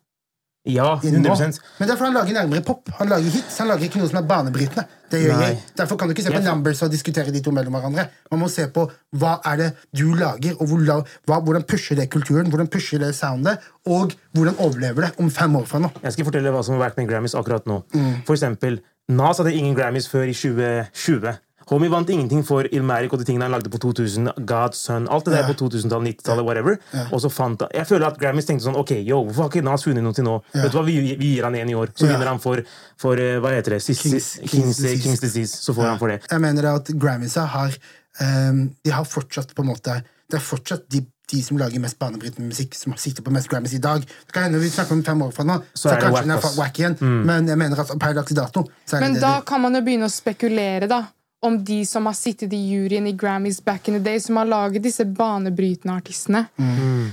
Speaker 3: Ja,
Speaker 2: inn nå.
Speaker 3: 100
Speaker 2: Men derfor han lager nærmere pop. Han lager hits, han lager ikke noe som er banebrytende. Det gjør
Speaker 3: Nei.
Speaker 2: jeg. Derfor kan du ikke se på
Speaker 3: Jeg-
Speaker 2: numbers og diskutere de to mellom hverandre. Man må se på hva er det du lager, og hvor la, hva, hvordan pusher det kulturen, hvordan pusher det soundet, og hvordan overlever det om fem år fra nå.
Speaker 3: Jeg skal fortelle hva som har vært med Grammys akkurat nå. For eksempel, Nas hadde ingen Grammys før i 2020. Homie vant ingenting for Ilmarik og de tingene han lagde på 2000. God's Son, alt det der
Speaker 2: Ja.
Speaker 3: på 2000-tallet, 90-tallet, whatever. Og så fant han, Jeg føler at Grammys tenkte sånn Ok, yo, hvorfor har ikke Nas vunnet noe til nå? Vet du hva, vi, vi gir han en i år. Så
Speaker 2: Ja.
Speaker 3: vinner han for, for eh, hva heter det, siste,
Speaker 2: Kings-
Speaker 3: Kings,
Speaker 2: Kings
Speaker 3: Kings,
Speaker 2: Disease.
Speaker 3: Kings Disease. Så får han for det.
Speaker 2: Jeg mener at Grammysa har ehm, De har fortsatt på en måte Det er fortsatt de, de som lager mest banebrytende musikk, som sitter på mest Grammys i dag. Det kan hende vi snakker om fem år fra nå, så,
Speaker 3: er det
Speaker 2: kanskje
Speaker 3: whack,
Speaker 2: den er
Speaker 3: ass. Mm.
Speaker 2: fa- whack igjen. Men jeg mener at per dags dato så er det
Speaker 1: Men
Speaker 2: det
Speaker 1: da
Speaker 2: de-
Speaker 1: kan man jo begynne å spekulere, da. Om de som har sittet i juryen i Grammys back in the day, som har laget disse banebrytende artistene.
Speaker 2: Mm.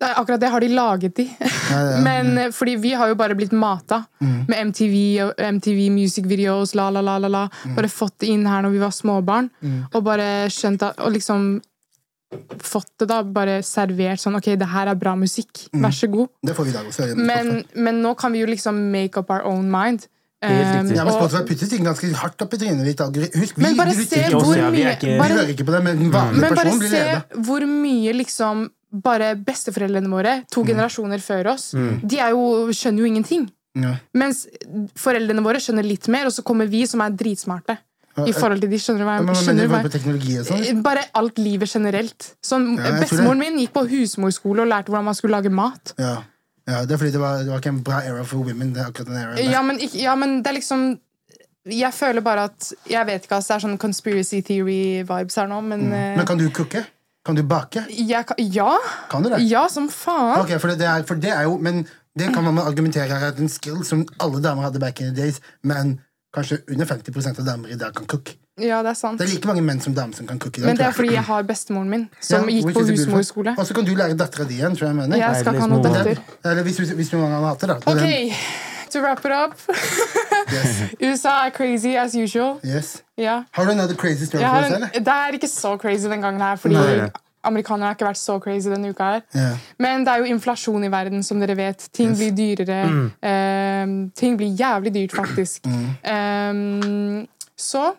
Speaker 1: Det er akkurat det har de laget, de. Men eh, fordi vi har jo bare blitt mata
Speaker 2: Mm.
Speaker 1: med MTV og MTV music videos, la, la, la, la, la.
Speaker 2: Mm.
Speaker 1: Bare fått det inn her når vi var småbarn, og bare skjønt at Og liksom fått det, da. Bare servert sånn OK, det her er bra musikk.
Speaker 2: Mm.
Speaker 1: Vær så god.
Speaker 2: Det får vi i dag også.
Speaker 1: Men, men nå kan vi jo liksom make up our own mind.
Speaker 3: Helt riktig.
Speaker 1: Eh,
Speaker 2: ja, men
Speaker 1: og-
Speaker 2: Spotify putter ting ganske hardt opp i trynet ditt. Agri. Husk, vi
Speaker 1: men bare
Speaker 2: lytter
Speaker 1: se
Speaker 2: ikke-
Speaker 3: oss,
Speaker 1: hvor
Speaker 3: ja, vi er
Speaker 1: mye
Speaker 3: ikke-
Speaker 2: Vi
Speaker 1: bare,
Speaker 2: hører ikke på det, men den vanlige
Speaker 1: Men bare
Speaker 2: personen blir
Speaker 1: se
Speaker 2: lede.
Speaker 1: hvor mye liksom bare besteforeldrene våre,
Speaker 2: Mm.
Speaker 1: to generasjoner før oss, de er jo, skjønner jo ingenting.
Speaker 2: Ja.
Speaker 1: Mens foreldrene våre skjønner litt mer, og så kommer vi som er dritsmarte. I forhold til de skjønner hva
Speaker 2: Men
Speaker 1: jeg
Speaker 2: man
Speaker 1: skjønner
Speaker 2: mener
Speaker 1: hva
Speaker 2: bare på
Speaker 1: jeg-
Speaker 2: teknologi og sånn.
Speaker 1: Bare alt livet generelt. Sånn,
Speaker 2: Ja, jeg tror
Speaker 1: Bestemoren min gikk på husmorskole og lærte hvordan man skulle lage mat.
Speaker 2: Ja. ja, det er fordi det var, det var ikke en bra era for women. Det er akkurat den eraen der.
Speaker 1: Ja, men, ikk- ja, men det er liksom Jeg føler bare at Jeg vet ikke, altså. Det er sånn conspiracy theory-vibes her nå, men, eh,
Speaker 2: Mm. Men kan du cooke? Kan du bake?
Speaker 1: jeg, kan- Ja!
Speaker 2: Kan du det?
Speaker 1: Ja, som faen.
Speaker 2: Ok, for det, er, for det er jo Men det kan man argumentere her er en skill som alle damer hadde back in the days, men kanskje under 50 av damer i dag kan cooke.
Speaker 1: Ja, det er sant.
Speaker 2: Det er like mange menn som damer som kan cooke. i dag,
Speaker 1: Men det er
Speaker 2: tror jeg.
Speaker 1: fordi jeg har bestemoren min, som
Speaker 2: Ja,
Speaker 1: gikk
Speaker 2: which
Speaker 1: på
Speaker 2: is a beautiful-
Speaker 1: husmorskole.
Speaker 2: Og så kan du lære dattera di igjen, tror jeg jeg mener.
Speaker 1: Jeg skal ikke ha noe
Speaker 3: Deilig
Speaker 1: datter.
Speaker 2: Eller hvis, hvis, hvis noen har hatt det, da.
Speaker 1: Ok,
Speaker 2: Det
Speaker 1: to wrap it up. USA er crazy as usual.
Speaker 2: er- Yes.
Speaker 1: Ja.
Speaker 2: Har du another crazy story
Speaker 1: Jeg
Speaker 2: for
Speaker 1: har
Speaker 2: oss,
Speaker 1: en,
Speaker 2: eller?
Speaker 1: det er ikke så crazy den gangen her, fordi
Speaker 3: Nei.
Speaker 1: amerikanere har ikke vært så crazy denne uka her.
Speaker 2: Ja.
Speaker 1: Men det er jo inflasjon i verden, som dere vet. Ting blir dyrere. Ehm, ting blir jævlig dyrt, faktisk. Ehm, så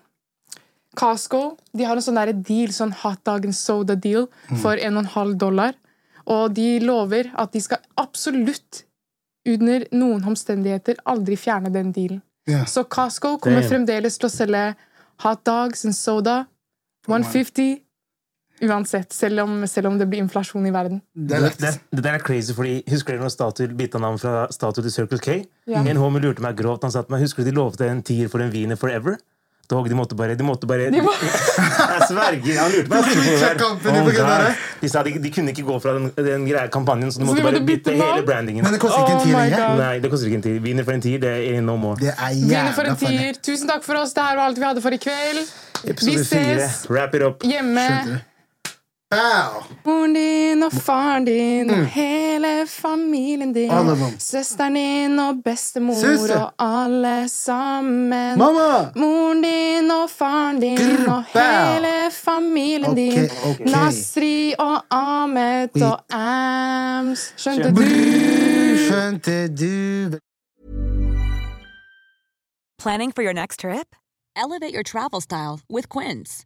Speaker 1: Costco de har en sånn der deal, sånn hot dog and soda deal, for 1,5 dollar. Og de lover at de skal absolutt, under noen omstendigheter, aldri fjerne den dealen.
Speaker 2: Ja.
Speaker 1: Så Costco kommer
Speaker 3: Damn.
Speaker 1: fremdeles til å selge hot dogs and soda 150 uansett, selv om, selv om det blir inflasjon i verden.
Speaker 2: Det er
Speaker 3: Det,
Speaker 2: lett.
Speaker 3: det, det der er crazy, fordi Husker dere når Statoil bytta navn fra Statoil til Circle K?
Speaker 1: Ja.
Speaker 3: En homie lurte meg grovt. Han sa til meg, Husker du de lovte en tier for en wiener forever? Dog, de måtte bare, de måtte bare
Speaker 1: De må-
Speaker 3: Jeg sverger! Han lurte meg.
Speaker 2: Du switcha company på grunn av
Speaker 3: God.
Speaker 2: det?
Speaker 3: de sa de, de kunne ikke gå fra den, den greia kampanjen, så de
Speaker 1: Så
Speaker 3: måtte
Speaker 1: de måtte
Speaker 3: bare bytte
Speaker 1: bytte
Speaker 3: hele
Speaker 1: navn?
Speaker 3: brandingen.
Speaker 2: Men det koster ikke en
Speaker 1: Oh
Speaker 2: tid
Speaker 1: my
Speaker 2: lenger.
Speaker 1: God.
Speaker 3: Nei, det koster ikke en tier. Wiener for en tier, det er no more.
Speaker 2: Det er
Speaker 1: Vinner for
Speaker 2: jævla
Speaker 1: en
Speaker 2: funny.
Speaker 1: tier. Tusen takk for oss. Det her var alt vi hadde for i kveld.
Speaker 3: Episode
Speaker 1: Vi
Speaker 3: fire.
Speaker 1: ses.
Speaker 3: Wrap it up.
Speaker 1: Hjemme.
Speaker 2: Wow.
Speaker 1: Moren din og faren din og hele familien din.
Speaker 2: Mm. Alle sammen.
Speaker 1: Søsteren din og bestemor
Speaker 2: Søster.
Speaker 1: og alle sammen.
Speaker 2: Mamma!
Speaker 1: Moren din og faren din
Speaker 2: Grr,
Speaker 1: og
Speaker 2: bæ.
Speaker 1: hele familien din.
Speaker 2: Ok, ok.
Speaker 1: Nasri og Ahmed
Speaker 2: Oi.
Speaker 1: og Ams. Skjønte du?
Speaker 2: Skjønte du
Speaker 4: Planning for your next trip? Elevate your travel style with Quince.